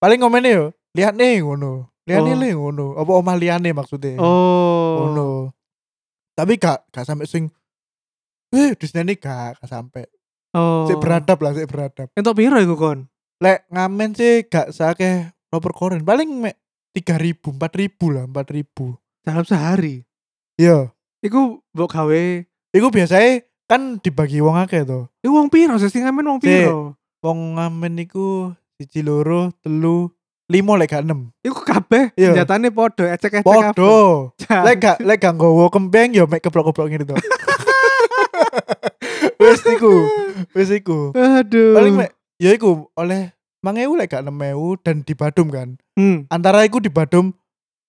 Speaker 2: paling komennya yo, lihat nih ngono. Lihat nih
Speaker 1: Oh.
Speaker 2: nih ngono. Apa omah liane maksudnya.
Speaker 1: Oh.
Speaker 2: Ngono. Tapi gak gak sampai sing eh Disney gak gak sampai.
Speaker 1: Oh.
Speaker 2: Sik beradab lah, sik beradab.
Speaker 1: Entuk piro iku kon?
Speaker 2: Lek ngamen sih gak sakeh proper koren. Paling mek 3000, 4000 lah, 4000.
Speaker 1: Dalam sehari.
Speaker 2: Iya.
Speaker 1: Iku mbok gawe
Speaker 2: Iku biasanya kan dibagi wong akeh to.
Speaker 1: Iku wong piro sih sing ngamen wong
Speaker 2: Sik.
Speaker 1: piro?
Speaker 2: Wong ngamen iku siji loro, telu, limo lek gak enam.
Speaker 1: Iku kabeh
Speaker 2: Iya.
Speaker 1: senjatane padha ecek-ecek kabeh.
Speaker 2: Podo.
Speaker 1: Jan.
Speaker 2: lek gak lek gak nggowo kempeng ya mek keplok-keplok ngene to. wis iku, wis iku.
Speaker 1: Aduh.
Speaker 2: Paling mek ya iku oleh 1000 lek gak 6000 dan di Badum kan.
Speaker 1: Hmm.
Speaker 2: Antara iku di Badum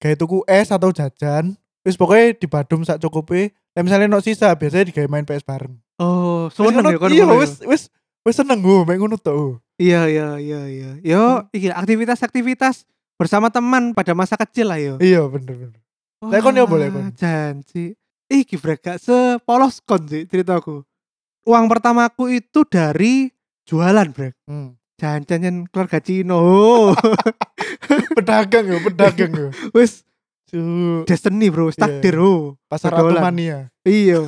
Speaker 2: gawe tuku es atau jajan, wis pokoknya di Badum sak cukupe. Lek misale nok sisa biasanya digawe main PS bareng.
Speaker 1: Oh,
Speaker 2: Wis
Speaker 1: seneng
Speaker 2: ngono-
Speaker 1: ya kon.
Speaker 2: Iya,
Speaker 1: ngono ya?
Speaker 2: wis wis wis seneng gue mek ngono oh. to.
Speaker 1: Iya, iya, iya, iya. Yo,
Speaker 2: Hmm.
Speaker 1: iki aktivitas-aktivitas bersama teman pada masa kecil lah yo.
Speaker 2: Iya, bener bener. Lah, kon yo boleh, kon.
Speaker 1: Janji. Iki brek gak sepolos kon sih ceritaku. Uang pertamaku itu dari jualan brek.
Speaker 2: Hmm.
Speaker 1: Janjian keluarga Cino.
Speaker 2: Pedagang yo, pedagang ya. yo.
Speaker 1: Wis
Speaker 2: Cuk,
Speaker 1: destiny bro, wis
Speaker 2: Iya.
Speaker 1: takdir oh.
Speaker 2: pasar
Speaker 1: Pergaulan.
Speaker 2: Ratu Mania.
Speaker 1: Iya.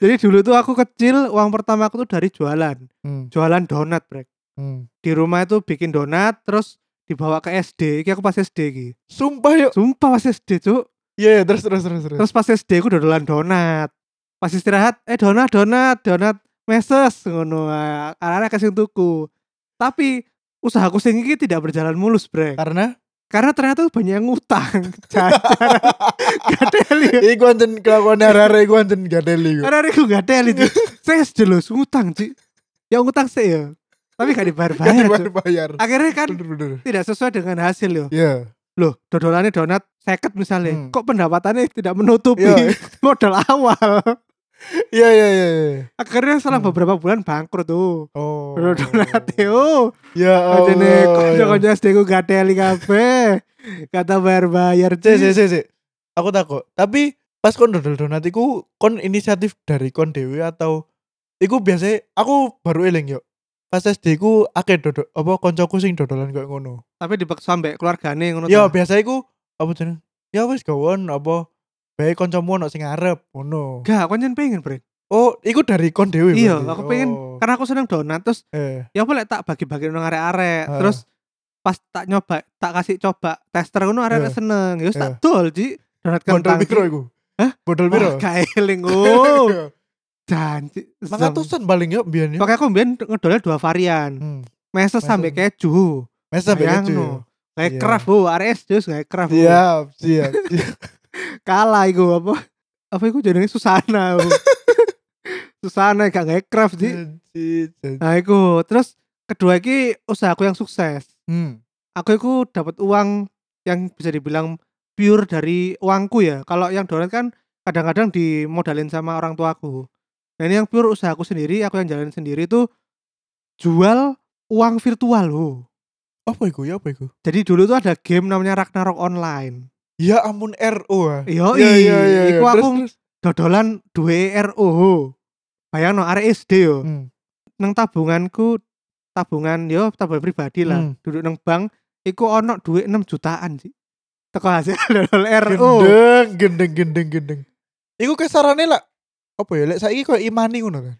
Speaker 1: Jadi dulu tuh aku kecil, uang pertamaku tuh dari jualan.
Speaker 2: Hmm.
Speaker 1: Jualan donat brek.
Speaker 2: hmm.
Speaker 1: Di rumah itu bikin donat terus dibawa ke SD. Iki aku pas SD iki.
Speaker 2: Sumpah yo.
Speaker 1: Sumpah pas SD cuk.
Speaker 2: Iya, iya, terus terus terus terus.
Speaker 1: Terus pas SD aku dodolan donat. Pas istirahat, eh donat donat donat meses ngono. Anak-anak kasih tuku. Tapi usahaku sing iki tidak berjalan mulus, Brek.
Speaker 2: Karena
Speaker 1: Karena ternyata banyak yang ngutang. Jajaran. Gadeli.
Speaker 2: Iku anjen kelakuan arah-arah iku anjen gadeli iku.
Speaker 1: Karena aku gadeli. Cuk. Saya jelas ngutang, Ci. Ya ngutang sih ya. Tapi gak dibayar-bayar.
Speaker 2: Bayar
Speaker 1: Cuk.
Speaker 2: bayar.
Speaker 1: Akhirnya kan
Speaker 2: Bener-bener.
Speaker 1: tidak sesuai dengan hasil yo.
Speaker 2: Iya.
Speaker 1: Loh, dodolannya donat seket misalnya.
Speaker 2: Hmm.
Speaker 1: Kok pendapatannya tidak menutupi
Speaker 2: Iya.
Speaker 1: modal awal?
Speaker 2: Iya iya iya. iya.
Speaker 1: akhirnya setelah
Speaker 2: Hmm.
Speaker 1: beberapa bulan bangkrut tuh
Speaker 2: Oh.
Speaker 1: Dodo donate oh
Speaker 2: Ya Allah.
Speaker 1: aja nih konco-konco SD ku gateli kabeh kata bayar bayar
Speaker 2: Sik sik sik, sik. Aku takut. Tapi pas kon dodol donat iku kon inisiatif dari kon dewe atau iku biasanya aku baru eling yo. Pas SD ku akeh dodol apa koncoku sing dodolan koyo ngono.
Speaker 1: tapi dipaksa mbek keluargane ngono ta.
Speaker 2: Ya biasa iku apa jeneng? Ya wis gawon apa bae kancamu ono sing arep ngono.
Speaker 1: gak aku nyen pengen bre
Speaker 2: Oh, iku dari kon dewe.
Speaker 1: iya
Speaker 2: berarti?
Speaker 1: aku pengen
Speaker 2: Oh.
Speaker 1: karena aku seneng donat terus
Speaker 2: Eh.
Speaker 1: ya boleh tak bagi-bagi nang arek-arek
Speaker 2: Ah.
Speaker 1: terus pas tak nyoba tak kasih coba tester ngono arek-arek
Speaker 2: Iya.
Speaker 1: seneng ya wis
Speaker 2: Iya.
Speaker 1: tak dol ji donat
Speaker 2: Bodol
Speaker 1: kentang
Speaker 2: biro
Speaker 1: Ji.
Speaker 2: iku.
Speaker 1: Hah?
Speaker 2: Bodol biro.
Speaker 1: Wah, gak eling oh janji Zem.
Speaker 2: Makatusan paling yo mbiyen yo.
Speaker 1: pokoknya aku mbien ngedolnya dua varian
Speaker 2: Hmm.
Speaker 1: meses sampai keju
Speaker 2: Mesa
Speaker 1: Bayang
Speaker 2: begitu.
Speaker 1: no. Kayak
Speaker 2: Iya.
Speaker 1: craft oh, bu, RS Jus kayak craft bu.
Speaker 2: Siap, siap. siap.
Speaker 1: Kalah iku apa? Apa iku jenenge Susana. Bu. Susana gak kayak craft sih.
Speaker 2: Iya. Janji, janji.
Speaker 1: Nah iku, terus kedua iki usahaku yang sukses.
Speaker 2: Hmm.
Speaker 1: Aku iku dapat uang yang bisa dibilang pure dari uangku ya. Kalau yang donat kan kadang-kadang dimodalin sama orang tuaku. Nah ini yang pure usahaku sendiri, aku yang jalanin sendiri itu jual uang virtual loh.
Speaker 2: Apa iku? Ya apa iku?
Speaker 1: Jadi dulu tuh ada game namanya Ragnarok Online.
Speaker 2: Ya ampun RO. ah.
Speaker 1: Yo,
Speaker 2: Iya, iya, iya, iya.
Speaker 1: iku
Speaker 2: Terus,
Speaker 1: aku dodolan duwe RO. Bayangno arek SD yo.
Speaker 2: Hmm.
Speaker 1: nang tabunganku tabungan yo tabungan pribadi lah
Speaker 2: Hmm.
Speaker 1: duduk nang bank iku ono duit 6 jutaan sih teko hasil dodol RU
Speaker 2: gendeng gendeng gendeng gendeng iku kisarannya lah apa ya lek saiki koyo imani ngono kan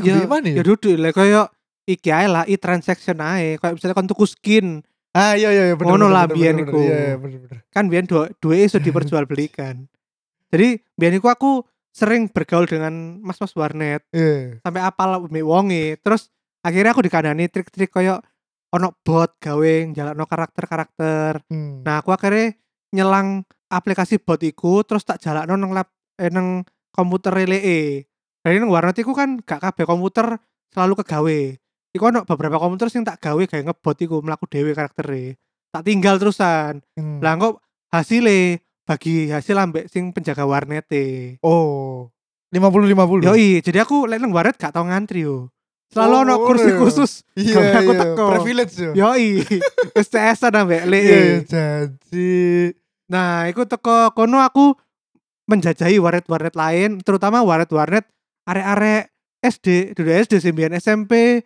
Speaker 2: iku
Speaker 1: Ya,
Speaker 2: di imani
Speaker 1: ya
Speaker 2: ya
Speaker 1: duduk lah koyo iki ae lah e-transaction ae kayak misalnya kon tuku skin
Speaker 2: ah iya iya iya bener
Speaker 1: Ngono
Speaker 2: bener,
Speaker 1: lah
Speaker 2: bener,
Speaker 1: biyen
Speaker 2: bener,
Speaker 1: iku.
Speaker 2: iya iya bener bener
Speaker 1: kan biyen du- duit iso diperjualbelikan jadi biyen iku aku sering bergaul dengan mas-mas warnet
Speaker 2: iya
Speaker 1: sampai apal umi wonge terus akhirnya aku dikandani trik-trik koyo ono bot gawe jalan karakter-karakter
Speaker 2: Hmm.
Speaker 1: Nah, aku akhirnya nyelang aplikasi bot iku terus tak jalakno nang lap eh, nang komputer relee. Dari nang warnet iku kan gak kabeh komputer selalu kegawe. Iku ono beberapa komputer sing tak gawe kayak ngebot iku mlaku dhewe karaktere. Tak tinggal terusan.
Speaker 2: Hmm.
Speaker 1: Lah kok hasile bagi hasil ambek sing penjaga e. warnete.
Speaker 2: oh 50 50
Speaker 1: Yoi, jadi aku lek nang warnet gak tau ngantri yo. Selalu
Speaker 2: Oh,
Speaker 1: ono kursi
Speaker 2: ngono ya.
Speaker 1: khusus.
Speaker 2: iya
Speaker 1: Gambar aku
Speaker 2: iya
Speaker 1: teko.
Speaker 2: privilege yo
Speaker 1: Yoi. Wis CS-an ambek lee.
Speaker 2: iya iya, janji
Speaker 1: Nah, iku teko kono aku menjajahi warnet-warnet lain, terutama warnet-warnet arek-arek SD, dulu SD sih, biyen SMP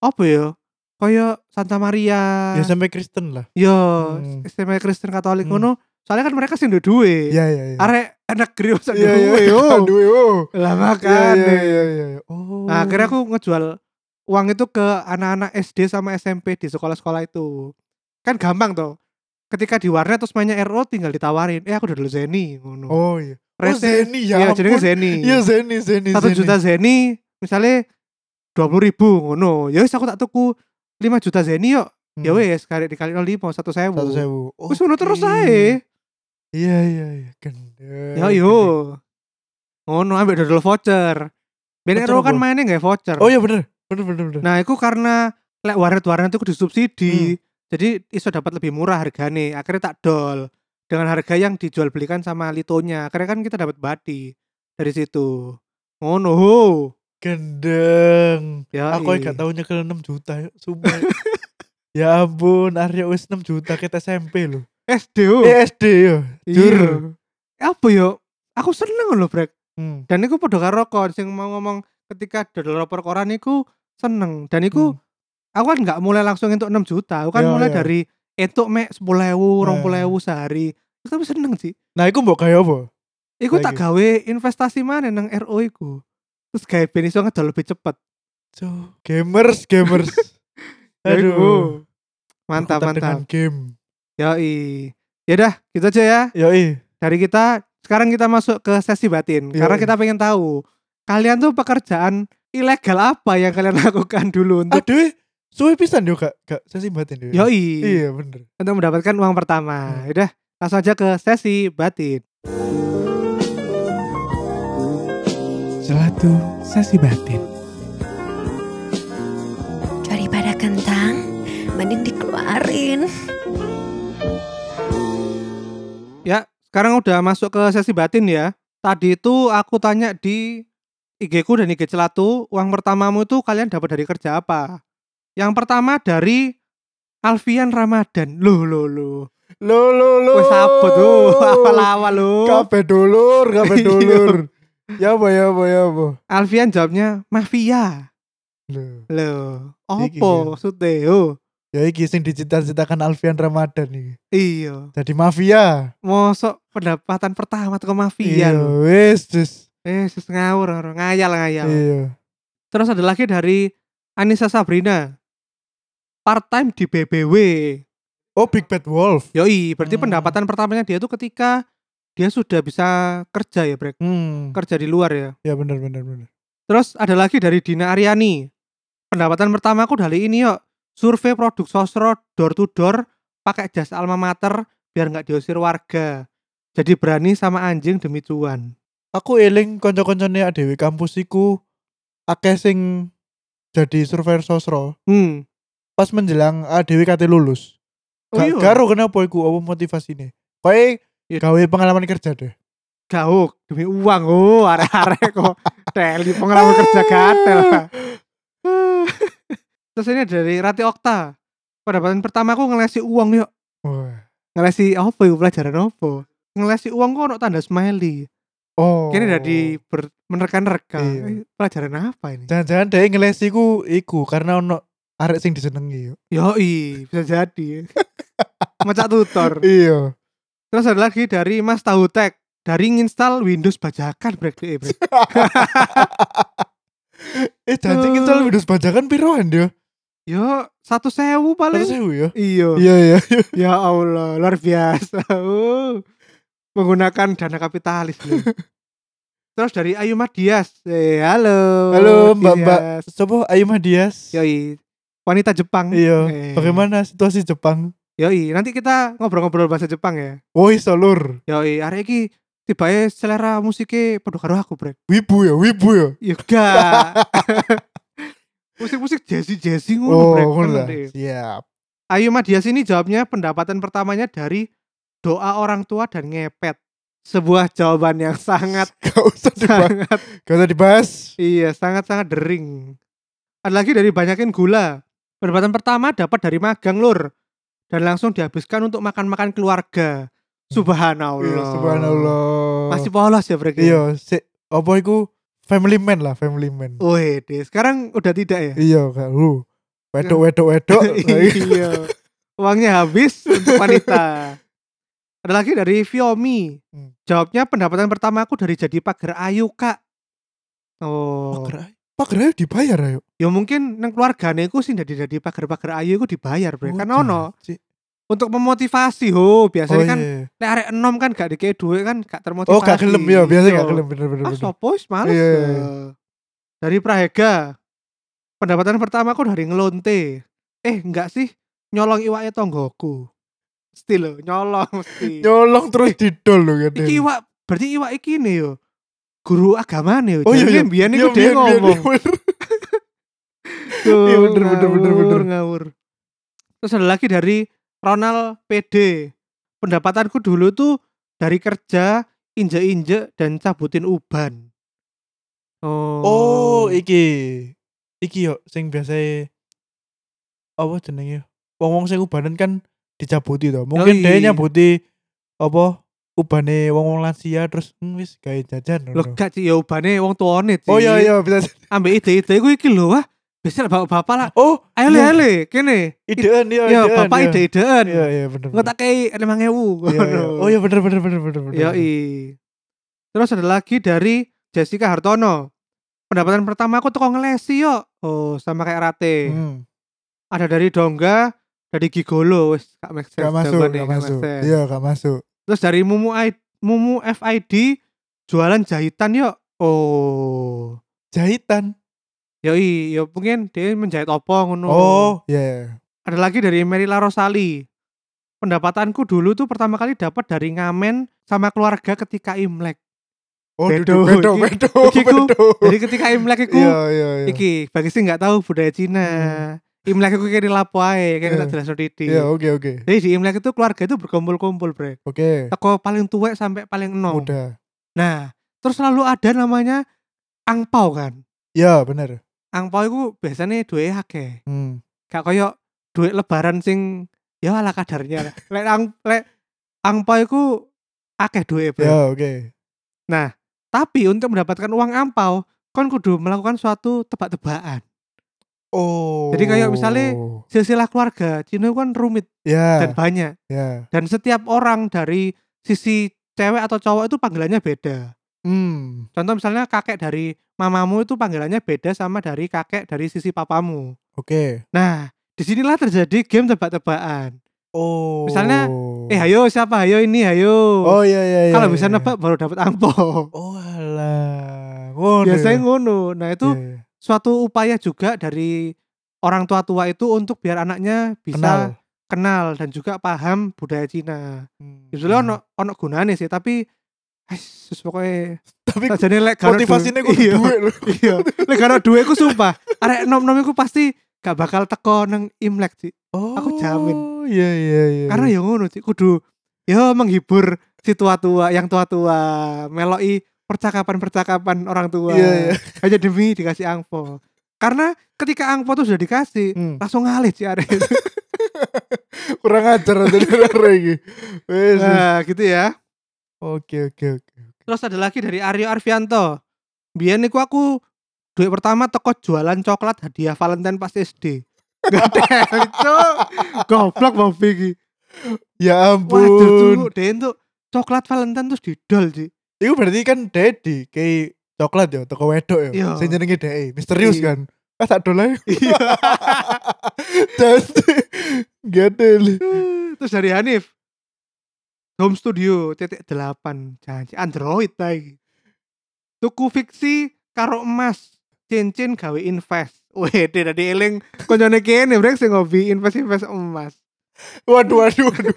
Speaker 1: apa ya? Kaya Santa Maria.
Speaker 2: ya sampai Kristen lah
Speaker 1: Yo,
Speaker 2: Hmm.
Speaker 1: SMP Kristen Katolik
Speaker 2: Hmm.
Speaker 1: ngono. Soalnya kan mereka sing duwe duwe.
Speaker 2: iya iya iya
Speaker 1: Arek negeri masa
Speaker 2: iya iya
Speaker 1: duwe yo.
Speaker 2: duwe oh
Speaker 1: Lah
Speaker 2: iya
Speaker 1: makane.
Speaker 2: iya iya iya iya. oh
Speaker 1: Nah, akhirnya aku ngejual uang itu ke anak-anak SD sama SMP di sekolah-sekolah itu. Kan gampang toh. Ketika di warnet terus mainnya RO tinggal ditawarin, "Eh, aku udah dulu Zeni." ngono.
Speaker 2: oh iya oh
Speaker 1: Rese-
Speaker 2: Zeni
Speaker 1: Iya,
Speaker 2: ya
Speaker 1: jenenge
Speaker 2: ampun.
Speaker 1: Zeni.
Speaker 2: iya Zeni Zeni
Speaker 1: Satu
Speaker 2: Zeni.
Speaker 1: juta Zeni, misalnya dua puluh ribu, ngono. Ya wis aku tak tuku lima juta Zeni yuk.
Speaker 2: Hmm.
Speaker 1: Ya wes kali dikali nol lima satu sewu.
Speaker 2: satu sewu
Speaker 1: Wis ngono terus
Speaker 2: Oke.
Speaker 1: ae.
Speaker 2: iya iya iya gendeng
Speaker 1: Ya yo. Ngono ambek dodol voucher. Ben
Speaker 2: Voucher
Speaker 1: RO kan
Speaker 2: apa?
Speaker 1: mainnya nggak voucher.
Speaker 2: oh iya bener bener bener bener
Speaker 1: Nah, itu karena lek warnet-warnet itu
Speaker 2: Hmm.
Speaker 1: disubsidi. Jadi iso dapat lebih murah hargane. Akhirnya tak dol dengan harga yang dijual belikan sama litonya. Akhirnya kan kita dapat bati dari situ. Ngono. ho.
Speaker 2: gendeng
Speaker 1: Ya,
Speaker 2: aku
Speaker 1: i.
Speaker 2: gak tau nyekel 6 juta yuk sumpah ya ampun Arya wis 6 juta kita SMP loh
Speaker 1: SD. ho.
Speaker 2: eh, SD yo jur
Speaker 1: Iya. Apa yo? Aku seneng loh, Brek.
Speaker 2: Hmm.
Speaker 1: Dan iku padha karo kon sing mau ngomong ketika dodol lapor koran iku seneng. Dan iku aku kan nggak mulai langsung entuk 6 juta. Aku kan
Speaker 2: Hmm. Ya,
Speaker 1: mulai
Speaker 2: ya.
Speaker 1: dari entuk mek 10.000, 20.000
Speaker 2: Ya.
Speaker 1: sehari. Tapi seneng sih.
Speaker 2: nah iku mbok kayak apa
Speaker 1: Iku tak
Speaker 2: Lagi.
Speaker 1: gawe investasi mana nang RO iku. Terus gawe ben iso ngedol lebih cepet.
Speaker 2: Cuk, gamers gamers
Speaker 1: Ya iku.
Speaker 2: aduh
Speaker 1: Mantap,
Speaker 2: berkutat dengan
Speaker 1: mantap.
Speaker 2: game
Speaker 1: Yoi. Ya udah, gitu aja ya.
Speaker 2: yoi
Speaker 1: Dari kita sekarang kita masuk ke sesi batin
Speaker 2: Yoi.
Speaker 1: karena kita pengen tahu kalian tuh pekerjaan ilegal apa yang kalian lakukan dulu untuk
Speaker 2: aduh suwe pisan yo gak gak sesi batin yo
Speaker 1: Ah. Yoi,
Speaker 2: iya Hmm. bener
Speaker 1: untuk mendapatkan uang pertama. Ya udah, langsung aja ke sesi batin.
Speaker 2: selatu sesi batin
Speaker 3: Daripada kentang, mending dikeluarin.
Speaker 1: Ya, sekarang udah masuk ke sesi batin ya. Tadi itu aku tanya di IG ku dan IG Celatu, uang pertamamu itu kalian dapat dari kerja apa? Yang pertama dari Alfian Ramadan. Loh, loh, loh.
Speaker 2: lo lo lo
Speaker 1: Wes sabot loh,
Speaker 2: Oh.
Speaker 1: awal-awal loh.
Speaker 2: Kabeh dulur, kabeh
Speaker 1: uh, Iya.
Speaker 2: dulur. ya apa ya apa ya apa.
Speaker 1: Alfian jawabnya mafia.
Speaker 2: Loh.
Speaker 1: Loh,
Speaker 2: Iki ya.
Speaker 1: opo maksudnya? Oh,
Speaker 2: Ya iki sing dicita-citakan Alfian Ramadan iki.
Speaker 1: iya.
Speaker 2: Jadi mafia. Iya,
Speaker 1: Mosok pendapatan pertama teko mafia loh.
Speaker 2: wis wis.
Speaker 1: Eh, sus ngawur, ngawur. ngayal ngayal.
Speaker 2: Iya.
Speaker 1: Terus ada lagi dari Anissa Sabrina. Part time di BBW.
Speaker 2: Oh Big Bad Wolf.
Speaker 1: Yoi, berarti
Speaker 2: Hmm.
Speaker 1: pendapatan pertamanya dia tuh ketika dia sudah bisa kerja ya, Brek.
Speaker 2: Hmm.
Speaker 1: Kerja di luar ya.
Speaker 2: Ya benar benar benar.
Speaker 1: Terus ada lagi dari Dina Aryani. Pendapatan pertamaku dari ini yuk. Survei produk sosro door to door pakai jas alma mater biar nggak diusir warga. Jadi berani sama anjing demi cuan.
Speaker 2: Aku eling kanca-kancane dhewe kampus iku akeh sing jadi surveyor sosro
Speaker 1: Hmm.
Speaker 2: pas menjelang ADW kate lulus.
Speaker 1: Oh
Speaker 2: Gak
Speaker 1: iya.
Speaker 2: garo kenapa iku apa motivasine? Koe
Speaker 1: Ya.
Speaker 2: gawe pengalaman kerja deh.
Speaker 1: gauk demi uang oh arek-arek kok teli pengalaman kerja gatel terus ini dari Rati Okta pendapatan pertama aku ngelesi uang yuk
Speaker 2: Wah.
Speaker 1: ngelesi apa yuk pelajaran apa ngelesi uang kok ono tanda smiley
Speaker 2: Oh.
Speaker 1: Kini jadi ber- menerka-nerka.
Speaker 2: Iya.
Speaker 1: Eh, pelajaran apa ini?
Speaker 2: jangan-jangan dia ngelesi ku iku karena ono arek sing disenengi yo.
Speaker 1: Yoi, bisa jadi. Macak tutor.
Speaker 2: Iya.
Speaker 1: Terus ada lagi dari Mas Tahutek dari install Windows bajakan brek deh, brek.
Speaker 2: Eh jangan install Windows bajakan piroan
Speaker 1: Iya.
Speaker 2: dia.
Speaker 1: Yo, satu sewu
Speaker 2: Terus
Speaker 1: paling.
Speaker 2: sewu yo.
Speaker 1: Iya.
Speaker 2: Iya iya.
Speaker 1: Ya Allah, luar biasa. Oh. Menggunakan dana kapitalis. loh. Terus dari Ayu Madias. Eh, halo.
Speaker 2: Halo Mbak-mbak.
Speaker 1: Madias.
Speaker 2: Sopo Ayu Madias.
Speaker 1: Yoi. Wanita Jepang.
Speaker 2: Iya.
Speaker 1: Eh.
Speaker 2: Bagaimana situasi Jepang?
Speaker 1: Yoi, nanti kita ngobrol-ngobrol bahasa Jepang ya.
Speaker 2: Woi solur.
Speaker 1: Yoi, hari ini tibae selera musiknya padha karo aku, brek.
Speaker 2: Wibu ya, wibu ya.
Speaker 1: Ya gak. Musik-musik jazzy-jazzy ngono,
Speaker 2: Oh,
Speaker 1: brek.
Speaker 2: ngono
Speaker 1: Kan
Speaker 2: lah.
Speaker 1: nanti.
Speaker 2: Siap.
Speaker 1: Ayu Madias ini jawabnya pendapatan pertamanya dari doa orang tua dan ngepet. Sebuah jawaban yang sangat
Speaker 2: Gak usah dibahas.
Speaker 1: sangat
Speaker 2: Gak usah dibahas.
Speaker 1: iya, sangat-sangat dering. Ada lagi dari banyakin gula. Pendapatan pertama dapat dari magang, Lur. Dan langsung dihabiskan untuk makan-makan keluarga. Subhanallah.
Speaker 2: Hmm. Iya, Subhanallah.
Speaker 1: Ya Masih polos ya, Brek.
Speaker 2: Iya, sik apa iku family man lah, family man.
Speaker 1: Oh. Wede, sekarang udah tidak ya?
Speaker 2: Iya, Kak. Lu. Wedok wedok wedok.
Speaker 1: iya. Uangnya habis untuk wanita. Ada lagi dari Viomi.
Speaker 2: Hmm.
Speaker 1: Jawabnya pendapatan pertamaku dari jadi pagar ayu, Kak. Oh.
Speaker 2: Pagerai. Pagerai dibayar ayo.
Speaker 1: Ya mungkin nang keluargane iku sih jadi jadi pagar-pagar ayu iku dibayar,
Speaker 2: Oh,
Speaker 1: Bre. Kan ono
Speaker 2: Sik.
Speaker 1: untuk memotivasi ho.
Speaker 2: Oh
Speaker 1: Biasanya kan
Speaker 2: iya.
Speaker 1: nek arek enom kan gak dikei duit kan gak termotivasi.
Speaker 2: Oh, gak gelem ya, biasa gak
Speaker 1: Gitu.
Speaker 2: gelem bener-bener.
Speaker 1: Ah, sopo wis males.
Speaker 2: Iya, iya,
Speaker 1: eh. Dari Prahega. Pendapatan pertama aku dari ngelonte. Eh, enggak sih. Nyolong iwaknya tonggoku. Mesti lho, nyolong mesti.
Speaker 2: Nyolong terus didol lho kan.
Speaker 1: iki iwak, berarti iwak iki nih yo. Guru agama nih yo.
Speaker 2: Oh iya iya.
Speaker 1: biyen
Speaker 2: Iya,
Speaker 1: iku dia
Speaker 2: biyen, biyen,
Speaker 1: ngomong.
Speaker 2: bener.
Speaker 1: Tuh,
Speaker 2: Iya, bener, bener, bener,
Speaker 1: ngawur,
Speaker 2: bener.
Speaker 1: ngawur. Terus ada lagi dari Ronald PD. Pendapatanku dulu tuh dari kerja injek-injek dan cabutin uban.
Speaker 2: Oh, iki. Iki yo sing biasa apa jenenge? Wong-wong sing ubanan kan dicabuti to. Mungkin
Speaker 1: Yoi.
Speaker 2: dia nyabuti apa ubane wong-wong lansia terus hmm, wis gawe jajan
Speaker 1: Lho
Speaker 2: ngono.
Speaker 1: gak sih ya ubane wong tuane sih.
Speaker 2: Hmm. Oh iya iya bisa.
Speaker 1: Ambek ide-ide iku iki lho wah. Biasa lah bapak-bapak lah.
Speaker 2: Oh,
Speaker 1: Ayo le
Speaker 2: Iya.
Speaker 1: ayo le kene.
Speaker 2: idean iya
Speaker 1: Ya
Speaker 2: idean,
Speaker 1: bapak
Speaker 2: iya.
Speaker 1: ide-idean.
Speaker 2: Iya iya bener.
Speaker 1: Engko tak kei 5000
Speaker 2: Iya, iya. Oh Ya, iya bener bener bener bener. bener.
Speaker 1: Yoi. Terus ada lagi dari Jessica Hartono. Pendapatan pertama aku toko ngelesi yo. Oh, sama kayak Rate.
Speaker 2: Hmm,
Speaker 1: Ada dari Dongga, dari Gigolo wis gak make sense
Speaker 2: gak masuk,
Speaker 1: jawabannya,
Speaker 2: gak
Speaker 1: gak
Speaker 2: masuk.
Speaker 1: make sense.
Speaker 2: Iya, gak masuk.
Speaker 1: Terus dari Mumu I- Mumu FID jualan jahitan yo. Oh.
Speaker 2: Jahitan.
Speaker 1: Yoi, yo mungkin dia menjahit apa ngono.
Speaker 2: Oh, iya. iya.
Speaker 1: Ada lagi dari Merila Rosali. Pendapatanku dulu tuh pertama kali dapat dari ngamen sama keluarga ketika Imlek.
Speaker 2: Oh,
Speaker 1: Bedo,
Speaker 2: duduk,
Speaker 1: iki-
Speaker 2: bedo, bedo,
Speaker 1: iki ku-
Speaker 2: bedo.
Speaker 1: Jadi ketika Imlek iku
Speaker 2: Iya, iya, iya. Hmm.
Speaker 1: iki bagi sih nggak tahu budaya Cina. Imlek iku kene lapo ae, kene
Speaker 2: Iya.
Speaker 1: tak jelasno titik.
Speaker 2: Iya, oke, oke.
Speaker 1: Jadi di Imlek itu keluarga itu berkumpul-kumpul, Bre.
Speaker 2: Oke.
Speaker 1: Teko paling tua sampai paling enom.
Speaker 2: Mudah.
Speaker 1: Nah, terus selalu ada namanya angpau kan.
Speaker 2: Iya, bener.
Speaker 1: Angpau itu biasanya duwe akeh.
Speaker 2: Hmm.
Speaker 1: gak koyo duit lebaran sing ya ala kadarnya lah. lek ang lek angpo iku akeh duit bro.
Speaker 2: Iya, oke.
Speaker 1: Tapi untuk mendapatkan uang angpau kon kudu melakukan suatu tebak-tebakan.
Speaker 2: Oh.
Speaker 1: Jadi kayak misalnya- Silsilah keluarga Cina kan rumit dan
Speaker 2: ya,
Speaker 1: banyak
Speaker 2: ya.
Speaker 1: dan setiap orang dari sisi cewek atau cowok itu panggilannya beda.
Speaker 2: Hmm.
Speaker 1: Contoh misalnya kakek dari mamamu itu panggilannya beda sama dari kakek dari sisi papamu.
Speaker 2: Oke.
Speaker 1: Nah, disinilah terjadi game tebak-tebakan.
Speaker 2: Oh.
Speaker 1: Misalnya, Eh, ayo siapa? Ayo ini, ayo.
Speaker 2: Oh, iya, iya, iya.
Speaker 1: kalau bisa
Speaker 2: iya.
Speaker 1: nebak baru dapat amplop
Speaker 2: Oh, alah. Ngono.
Speaker 1: biasanya
Speaker 2: ya.
Speaker 1: ngono nah itu
Speaker 2: Iya, iya.
Speaker 1: suatu upaya juga dari orang tua tua itu untuk biar anaknya
Speaker 2: kenal.
Speaker 1: bisa kenal, dan juga paham budaya Cina
Speaker 2: Hmm.
Speaker 1: Sebenarnya ono ono gunane sih tapi Ais, sus pokoknya
Speaker 2: tapi
Speaker 1: jadi lek gak ono duwe-
Speaker 2: motivasinya gue
Speaker 1: iya
Speaker 2: duit loh.
Speaker 1: iya lek karo duwe ku sumpah arek nom-nom iku pasti gak bakal teko nang Imlek sih
Speaker 2: Oh,
Speaker 1: Aku jamin.
Speaker 2: Iya iya iya.
Speaker 1: karena ya ngono sih kudu ya menghibur si tua-tua yang tua-tua meloi percakapan-percakapan orang tua
Speaker 2: Iya iya.
Speaker 1: hanya demi dikasih angpo karena ketika angpo tuh sudah dikasih
Speaker 2: Hmm.
Speaker 1: langsung ngalih sih Arek.
Speaker 2: Kurang ajar aja dari orang ini. Wes, wes.
Speaker 1: Nah, gitu ya
Speaker 2: Ah, Oke oke oke. oke.
Speaker 1: Terus ada lagi dari Aryo Arfianto. Biar niku aku duit pertama teko jualan coklat hadiah Valentine pas SD. Gede, Cuk. Goblok mau iki. Waduh,
Speaker 2: Ya ampun.
Speaker 1: Cuk, Den tuh coklat Valentine terus didol, Ji.
Speaker 2: Iku berarti kan Dedi kayak coklat ya, toko wedok
Speaker 1: Iya.
Speaker 2: ya. Sing jenenge Dede, misterius
Speaker 1: Iya.
Speaker 2: kan. Ah tak dolai.
Speaker 1: Iya.
Speaker 2: Dan gadel.
Speaker 1: Terus dari Hanif. Home Studio titik 8 janji Android lagi. Tuku fiksi karo emas cincin gawe invest. Wih, dia tadi eling koncone kene brek sing hobi invest-invest emas.
Speaker 2: Waduh waduh waduh.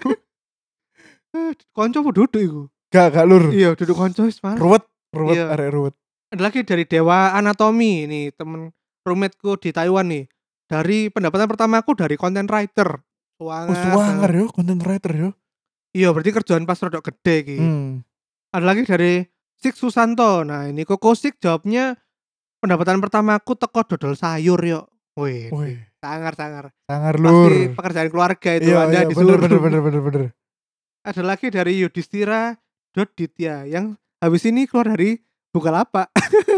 Speaker 1: Eh, Konco mau duduk iku.
Speaker 2: Gak gak lur.
Speaker 1: Iya, duduk konco wis males.
Speaker 2: Ruwet, ruwet
Speaker 1: Iya.
Speaker 2: arek ruwet.
Speaker 1: Ada lagi dari Dewa Anatomi nih, temen roommateku di Taiwan nih. Dari pendapatan pertamaku dari content writer.
Speaker 2: Wis
Speaker 1: Suangar.
Speaker 2: wanger yo content writer yo.
Speaker 1: Iya, berarti kerjaan pas rodok gede gitu. ki.
Speaker 2: Hmm.
Speaker 1: Ada lagi dari Sik Susanto. Nah, ini Koko Sik jawabnya pendapatan pertamaku teko dodol sayur yo. Wih,
Speaker 2: Wih,
Speaker 1: sangar-sangar.
Speaker 2: sangar
Speaker 1: Gitu Pasti
Speaker 2: lur.
Speaker 1: pekerjaan keluarga itu
Speaker 2: Iya,
Speaker 1: Anda
Speaker 2: iya,
Speaker 1: disuruh.
Speaker 2: bener bener bener bener bener.
Speaker 1: Ada lagi dari Yudhistira Dot Ditya yang habis ini keluar dari Bukalapak.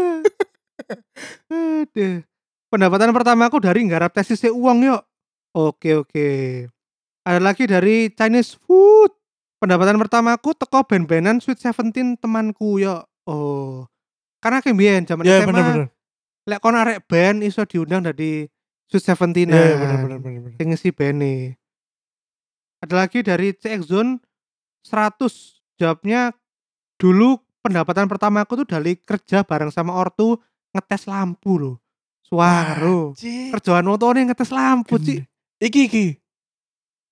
Speaker 1: Aduh. Pendapatan pertamaku dari nggarap tesis uang yuk. Oke oke. Ada lagi dari Chinese food. Pendapatan pertamaku teko ben-benan Sweet Seventeen temanku yuk. Oh. Karena kembien zaman
Speaker 2: Iya
Speaker 1: SMA.
Speaker 2: bener bener.
Speaker 1: Lek kon arek band iso diundang dari Sweet Seventeen.
Speaker 2: Iya iya, bener bener bener bener.
Speaker 1: Yang ngisi bene. Ada lagi dari CX Zone 100. Jawabnya dulu pendapatan pertamaku tuh dari kerja bareng sama ortu ngetes lampu loh. Suaro.
Speaker 2: Cik.
Speaker 1: Kerjaan ortu nih ngetes lampu, Ci.
Speaker 2: Gede. Iki iki.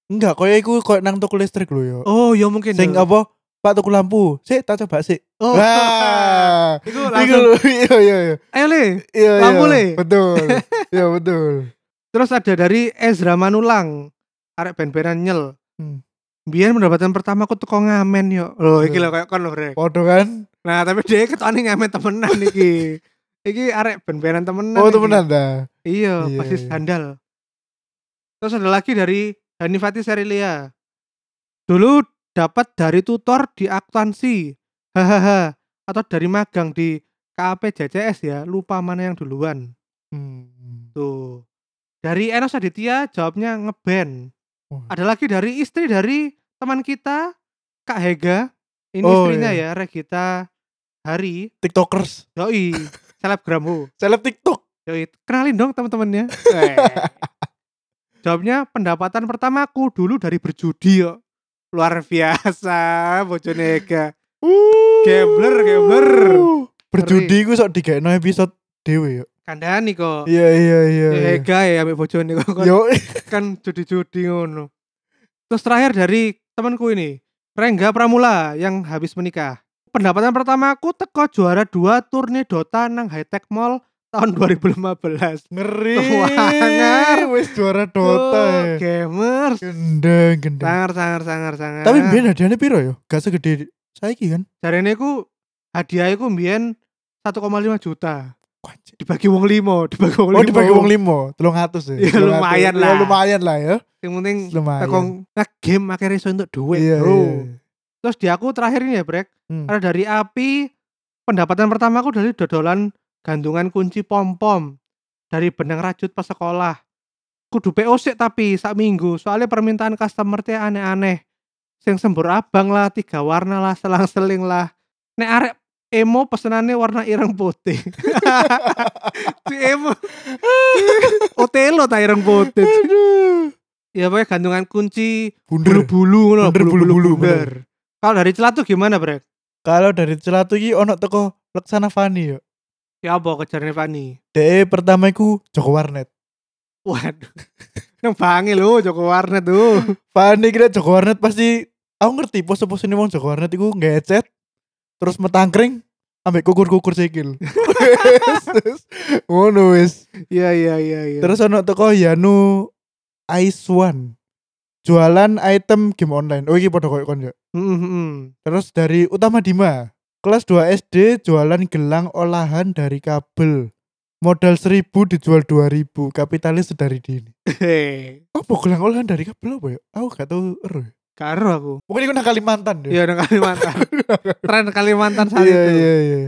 Speaker 2: Enggak, koyo iku koyo nang tuku listrik lho yo.
Speaker 1: Oh, ya mungkin.
Speaker 2: Sing
Speaker 1: Yo.
Speaker 2: apa? Pak tuku lampu. Sik, tak coba sik.
Speaker 1: Oh.
Speaker 2: Wah.
Speaker 1: Iku
Speaker 2: Iku
Speaker 1: langsung.
Speaker 2: lho, iya iya iya.
Speaker 1: Ayo Le.
Speaker 2: Iya iya.
Speaker 1: Lampu, Le.
Speaker 2: Betul. Iya betul.
Speaker 1: Terus ada dari Ezra Manulang. Arek ben-benan nyel.
Speaker 2: Hmm.
Speaker 1: Biar pendapatan pertamaku teko ngamen yo. Loh, iki lho kayak kon lho, Rek.
Speaker 2: Podo kan?
Speaker 1: Nah, tapi dia ketone ngamen temenan iki. iki arek ben-benan temenan.
Speaker 2: Oh,
Speaker 1: iki.
Speaker 2: temenan dah.
Speaker 1: Iya,
Speaker 2: Iya,
Speaker 1: basis
Speaker 2: iya.
Speaker 1: handal. Terus ada lagi dari Hanifati Serilia. Dulu dapat dari tutor di akuntansi. Hahaha. Atau dari magang di KAP JCS ya, lupa mana yang duluan.
Speaker 2: Hmm.
Speaker 1: Tuh. Dari Enos Aditya jawabnya ngeband.
Speaker 2: Wah.
Speaker 1: Ada lagi dari istri dari teman kita Kak Hega. Ini
Speaker 2: Oh,
Speaker 1: istrinya
Speaker 2: iya.
Speaker 1: ya, Regita Hari.
Speaker 2: TikTokers.
Speaker 1: Yoi, selebgrammu.
Speaker 2: Seleb TikTok.
Speaker 1: Yoi, kenalin dong teman-temannya. Jawabnya pendapatan pertamaku dulu dari berjudi yo. Luar biasa, bojone Ega. Gambler, gambler.
Speaker 2: Berjudi iku sok digekno episode dhewe yo.
Speaker 1: Kandani kok.
Speaker 2: Iya iya iya.
Speaker 1: Ya,
Speaker 2: iya.
Speaker 1: Ega ya ambek bojone kok Kon-
Speaker 2: Yo.
Speaker 1: kan judi-judi ngono. Terus terakhir dari temanku ini, Rengga Pramula yang habis menikah. Pendapatan pertamaku teko juara 2 turne Dota nang High Tech Mall tahun 2015.
Speaker 2: Ngeri.
Speaker 1: Wanger.
Speaker 2: Wis juara Dota.
Speaker 1: Tuh,
Speaker 2: ya.
Speaker 1: Gamers.
Speaker 2: Gendeng, gendeng.
Speaker 1: Sangar, sangar, sangar, sangar.
Speaker 2: Tapi biar hadiahnya piro ya? Gak segede saiki kan?
Speaker 1: Jarene iku hadiah iku mbiyen 1,5 juta.
Speaker 2: Wajib.
Speaker 1: Dibagi wong limo, dibagi wong
Speaker 2: Oh
Speaker 1: limo.
Speaker 2: dibagi wong limo, telung atus ya.
Speaker 1: Iya,
Speaker 2: 300.
Speaker 1: lumayan
Speaker 2: Ya,
Speaker 1: lah.
Speaker 2: lumayan lah ya.
Speaker 1: Yang penting
Speaker 2: Lumayan.
Speaker 1: teko nge-game akhirnya iso entuk duit,
Speaker 2: iya,
Speaker 1: bro.
Speaker 2: iya.
Speaker 1: Terus di aku terakhir ini ya, Brek.
Speaker 2: Hmm.
Speaker 1: Ada dari api pendapatan pertamaku dari dodolan gantungan kunci pom-pom dari benang rajut pas sekolah. Kudu PO sik tapi sak minggu, soalnya permintaan customer teh aneh-aneh. Sing sembur abang lah, tiga warna lah, selang-seling lah. Nek arek emo pesenannya warna ireng putih. si emo. Otelo ta ireng putih.
Speaker 2: Aduh.
Speaker 1: Ya pokoknya gantungan kunci
Speaker 2: Bunder.
Speaker 1: bulu-bulu loh,
Speaker 2: Bunder, bulu-bulu, bener.
Speaker 1: bunder. Kalau dari celatu gimana, Brek?
Speaker 2: Kalau dari celatu iki ono teko Laksana Fani ya.
Speaker 1: Ya apa kejarnya Fani?
Speaker 2: DE pertama iku Joko Warnet.
Speaker 1: Waduh. Nang bangi lu Joko Warnet tuh.
Speaker 2: Fani kira Joko Warnet pasti aku ngerti pose-pose ini wong Joko Warnet iku ngecet terus metangkring ambek kukur-kukur sikil. Wis, wis. Ngono wis.
Speaker 1: Iya iya iya iya.
Speaker 2: Terus ono teko Yanu Aiswan. Jualan item game online. Oh iki padha koyo kon ya.
Speaker 1: Mm, mm, mm.
Speaker 2: Terus dari Utama Dima. Kelas 2 SD jualan gelang olahan dari kabel. Modal 1000 dijual 2000. Kapitalis sedari dini.
Speaker 1: Hehe.
Speaker 2: Apa gelang olahan dari kabel apa ya? Aku gak tahu ero. ya.
Speaker 1: karo aku
Speaker 2: Mungkin iku ya. nang Kalimantan deh.
Speaker 1: iya nang Kalimantan tren Kalimantan saat
Speaker 2: iya,
Speaker 1: Nah, itu
Speaker 2: iya, iya.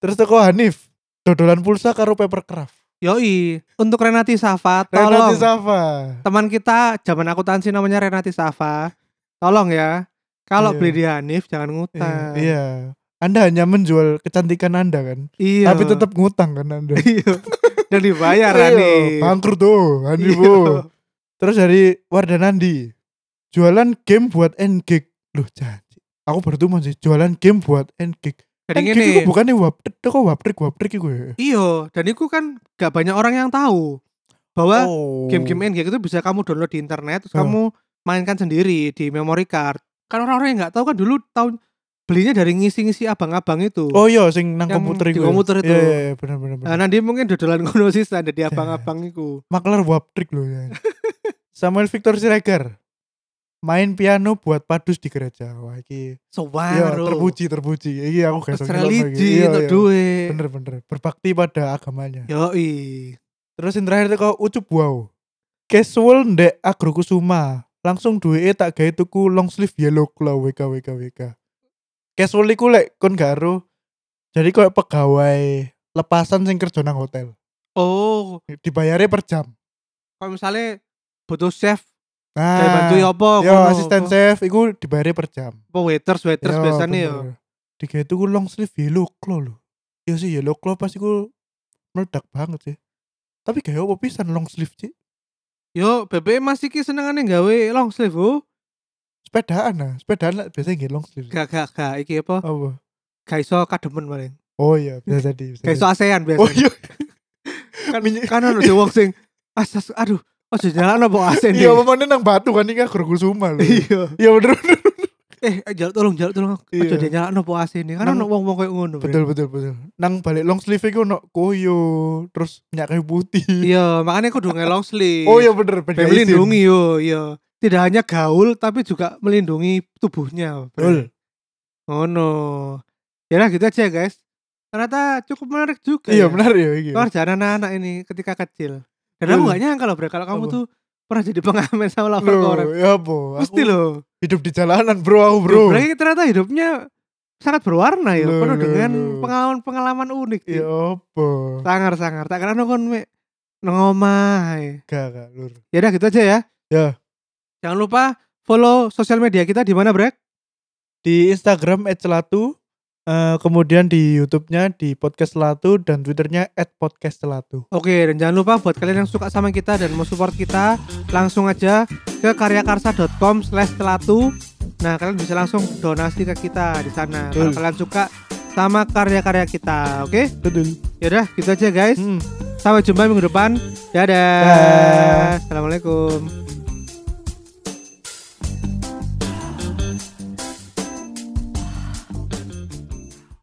Speaker 2: Terus teko Hanif, dodolan pulsa karo papercraft.
Speaker 1: yoi untuk Renati Safa tolong
Speaker 2: Renati Safa.
Speaker 1: teman kita zaman akuntansi namanya Renati Safa tolong ya kalau
Speaker 2: Iya.
Speaker 1: beli di Hanif jangan
Speaker 2: Iya,
Speaker 1: ngutang
Speaker 2: Iya. Anda hanya menjual kecantikan Anda kan,
Speaker 1: Iya.
Speaker 2: tapi tetap ngutang kan Anda.
Speaker 1: Iya. dan dibayar
Speaker 2: Iya,
Speaker 1: Hanif
Speaker 2: Bangkrut tuh, Hanif.
Speaker 1: Iya.
Speaker 2: oh. Terus dari Wardanandi Jualan game buat endgig Loh janji Aku baru tuh sih Jualan game buat endgig
Speaker 1: jadi
Speaker 2: Endgig
Speaker 1: gini
Speaker 2: itu bukan nih waptrik Kok waptrik waptrik itu ya
Speaker 1: Iya, dan itu kan gak banyak orang yang tahu bahwa game-game NG itu gitu bisa kamu download di internet, terus
Speaker 2: Oh.
Speaker 1: kamu mainkan sendiri di memory card. Kan orang-orang yang nggak tahu kan dulu tahun belinya dari ngisi-ngisi abang-abang itu.
Speaker 2: Oh iya sing nang
Speaker 1: Yang
Speaker 2: komputer
Speaker 1: di
Speaker 2: itu
Speaker 1: komputer itu.
Speaker 2: Iya iya iya, bener bener, bener.
Speaker 1: Nah, nanti mungkin dodolan ngono sisa ada di
Speaker 2: Iya.
Speaker 1: abang-abang itu.
Speaker 2: Maklar waptrik loh ya Samuel Victor Siregar Main piano buat padus di gereja Wah ini Iya
Speaker 1: Sewaro.
Speaker 2: terpuji terpuji Ini aku
Speaker 1: Terus
Speaker 2: gak bisa ngelok lagi.
Speaker 1: religi
Speaker 2: Iya,
Speaker 1: untuk
Speaker 2: iya.
Speaker 1: duit. Iya.
Speaker 2: Bener bener Berbakti pada agamanya
Speaker 1: Yoi.
Speaker 2: Terus yang terakhir itu kau ucup wow. Casual ndek agrokusuma. Langsung duwe tak gawe tuku long sleeve yellow claw WK WK WK. Casual iku lek kon gak ero. Jadi koyo pegawai lepasan sing kerja nang hotel.
Speaker 1: Oh,
Speaker 2: Dibayarnya per jam.
Speaker 1: kalau misalnya butuh chef,
Speaker 2: Nah,
Speaker 1: saya bantu ya apa?
Speaker 2: yo,
Speaker 1: ngono,
Speaker 2: asisten
Speaker 1: apa-
Speaker 2: chef iku dibayarnya per jam.
Speaker 1: apa waiters, waiters biasanya ya.
Speaker 2: Digawe tuku long sleeve yellow claw lho. Ya sih yellow claw pasti iku meledak banget sih. Tapi gawe apa pisan long sleeve sih?
Speaker 1: Yo, BPM masih ki senengane gawe long sleeve. oh.
Speaker 2: Sepedaan lah, sepedaan lah biasanya nggih long sleeve.
Speaker 1: Gak gak gak iki apa?
Speaker 2: Apa?
Speaker 1: Gak iso kademen paling.
Speaker 2: Oh iya, bisa jadi. Bisa
Speaker 1: Gak iso
Speaker 2: jadi.
Speaker 1: ASEAN biasa.
Speaker 2: Oh iya,
Speaker 1: kan
Speaker 2: minyak-
Speaker 1: kan ono dhewe wong sing asas aduh, ojo jalan apa ASEAN.
Speaker 2: iya
Speaker 1: deh.
Speaker 2: pemainnya nang batu kan ini kan Kusuma loh.
Speaker 1: Iya.
Speaker 2: Iya bener bener.
Speaker 1: Eh, jaluk tolong jaluk tolong. Ojo
Speaker 2: Iya.
Speaker 1: jalan apa ASEAN. Kan ono
Speaker 2: Nang-
Speaker 1: wong-wong koyo ngono. Bre.
Speaker 2: Betul betul betul. Nang balik long sleeve iku ono koyo, terus minyak kayu putih.
Speaker 1: Iya, makanya kudu nge long sleeve.
Speaker 2: Oh iya bener, beda
Speaker 1: Ben
Speaker 2: izin.
Speaker 1: melindungi yo, iya. Tidak hanya gaul tapi juga melindungi tubuhnya. Bre.
Speaker 2: Betul.
Speaker 1: Ngono. Ya lah gitu aja, guys. Ternyata cukup menarik juga.
Speaker 2: Iya
Speaker 1: ya.
Speaker 2: benar ya iki.
Speaker 1: Perjalanan anak-anak ini ketika kecil. Dan
Speaker 2: Betul.
Speaker 1: aku gak nyangka loh, Bre, kalau kamu
Speaker 2: Apa?
Speaker 1: tuh pernah jadi pengamen sama lapor ke orang.
Speaker 2: Loh, ya po.
Speaker 1: Mesti loh.
Speaker 2: Hidup di jalanan, Bro, aku, Bro.
Speaker 1: Loh, Berarti ternyata hidupnya sangat berwarna ya,
Speaker 2: Loh,
Speaker 1: penuh
Speaker 2: loh,
Speaker 1: dengan
Speaker 2: loh.
Speaker 1: pengalaman-pengalaman unik.
Speaker 2: Ya
Speaker 1: Iya.
Speaker 2: apa?
Speaker 1: Sangar-sangar. Tak kira kon mek nang omah. ae.
Speaker 2: Gak gak lur.
Speaker 1: Ya udah gitu aja ya.
Speaker 2: Ya.
Speaker 1: Jangan lupa follow sosial media kita di mana, Brek?
Speaker 2: Di Instagram @celatu eh, kemudian di YouTube-nya di podcast Celatu dan Twitternya @podcastcelatu.
Speaker 1: Oke, dan jangan lupa buat kalian yang suka sama kita dan mau support kita, langsung aja ke karyakarsa.com slash telatu. Nah, kalian bisa langsung donasi ke kita di sana. Kalau
Speaker 2: Betul.
Speaker 1: kalian suka sama karya-karya kita, oke?
Speaker 2: Betul.
Speaker 1: Yaudah, gitu aja guys.
Speaker 2: Hmm.
Speaker 1: Sampai jumpa minggu depan. Dadah.
Speaker 2: Dah.
Speaker 1: Assalamualaikum.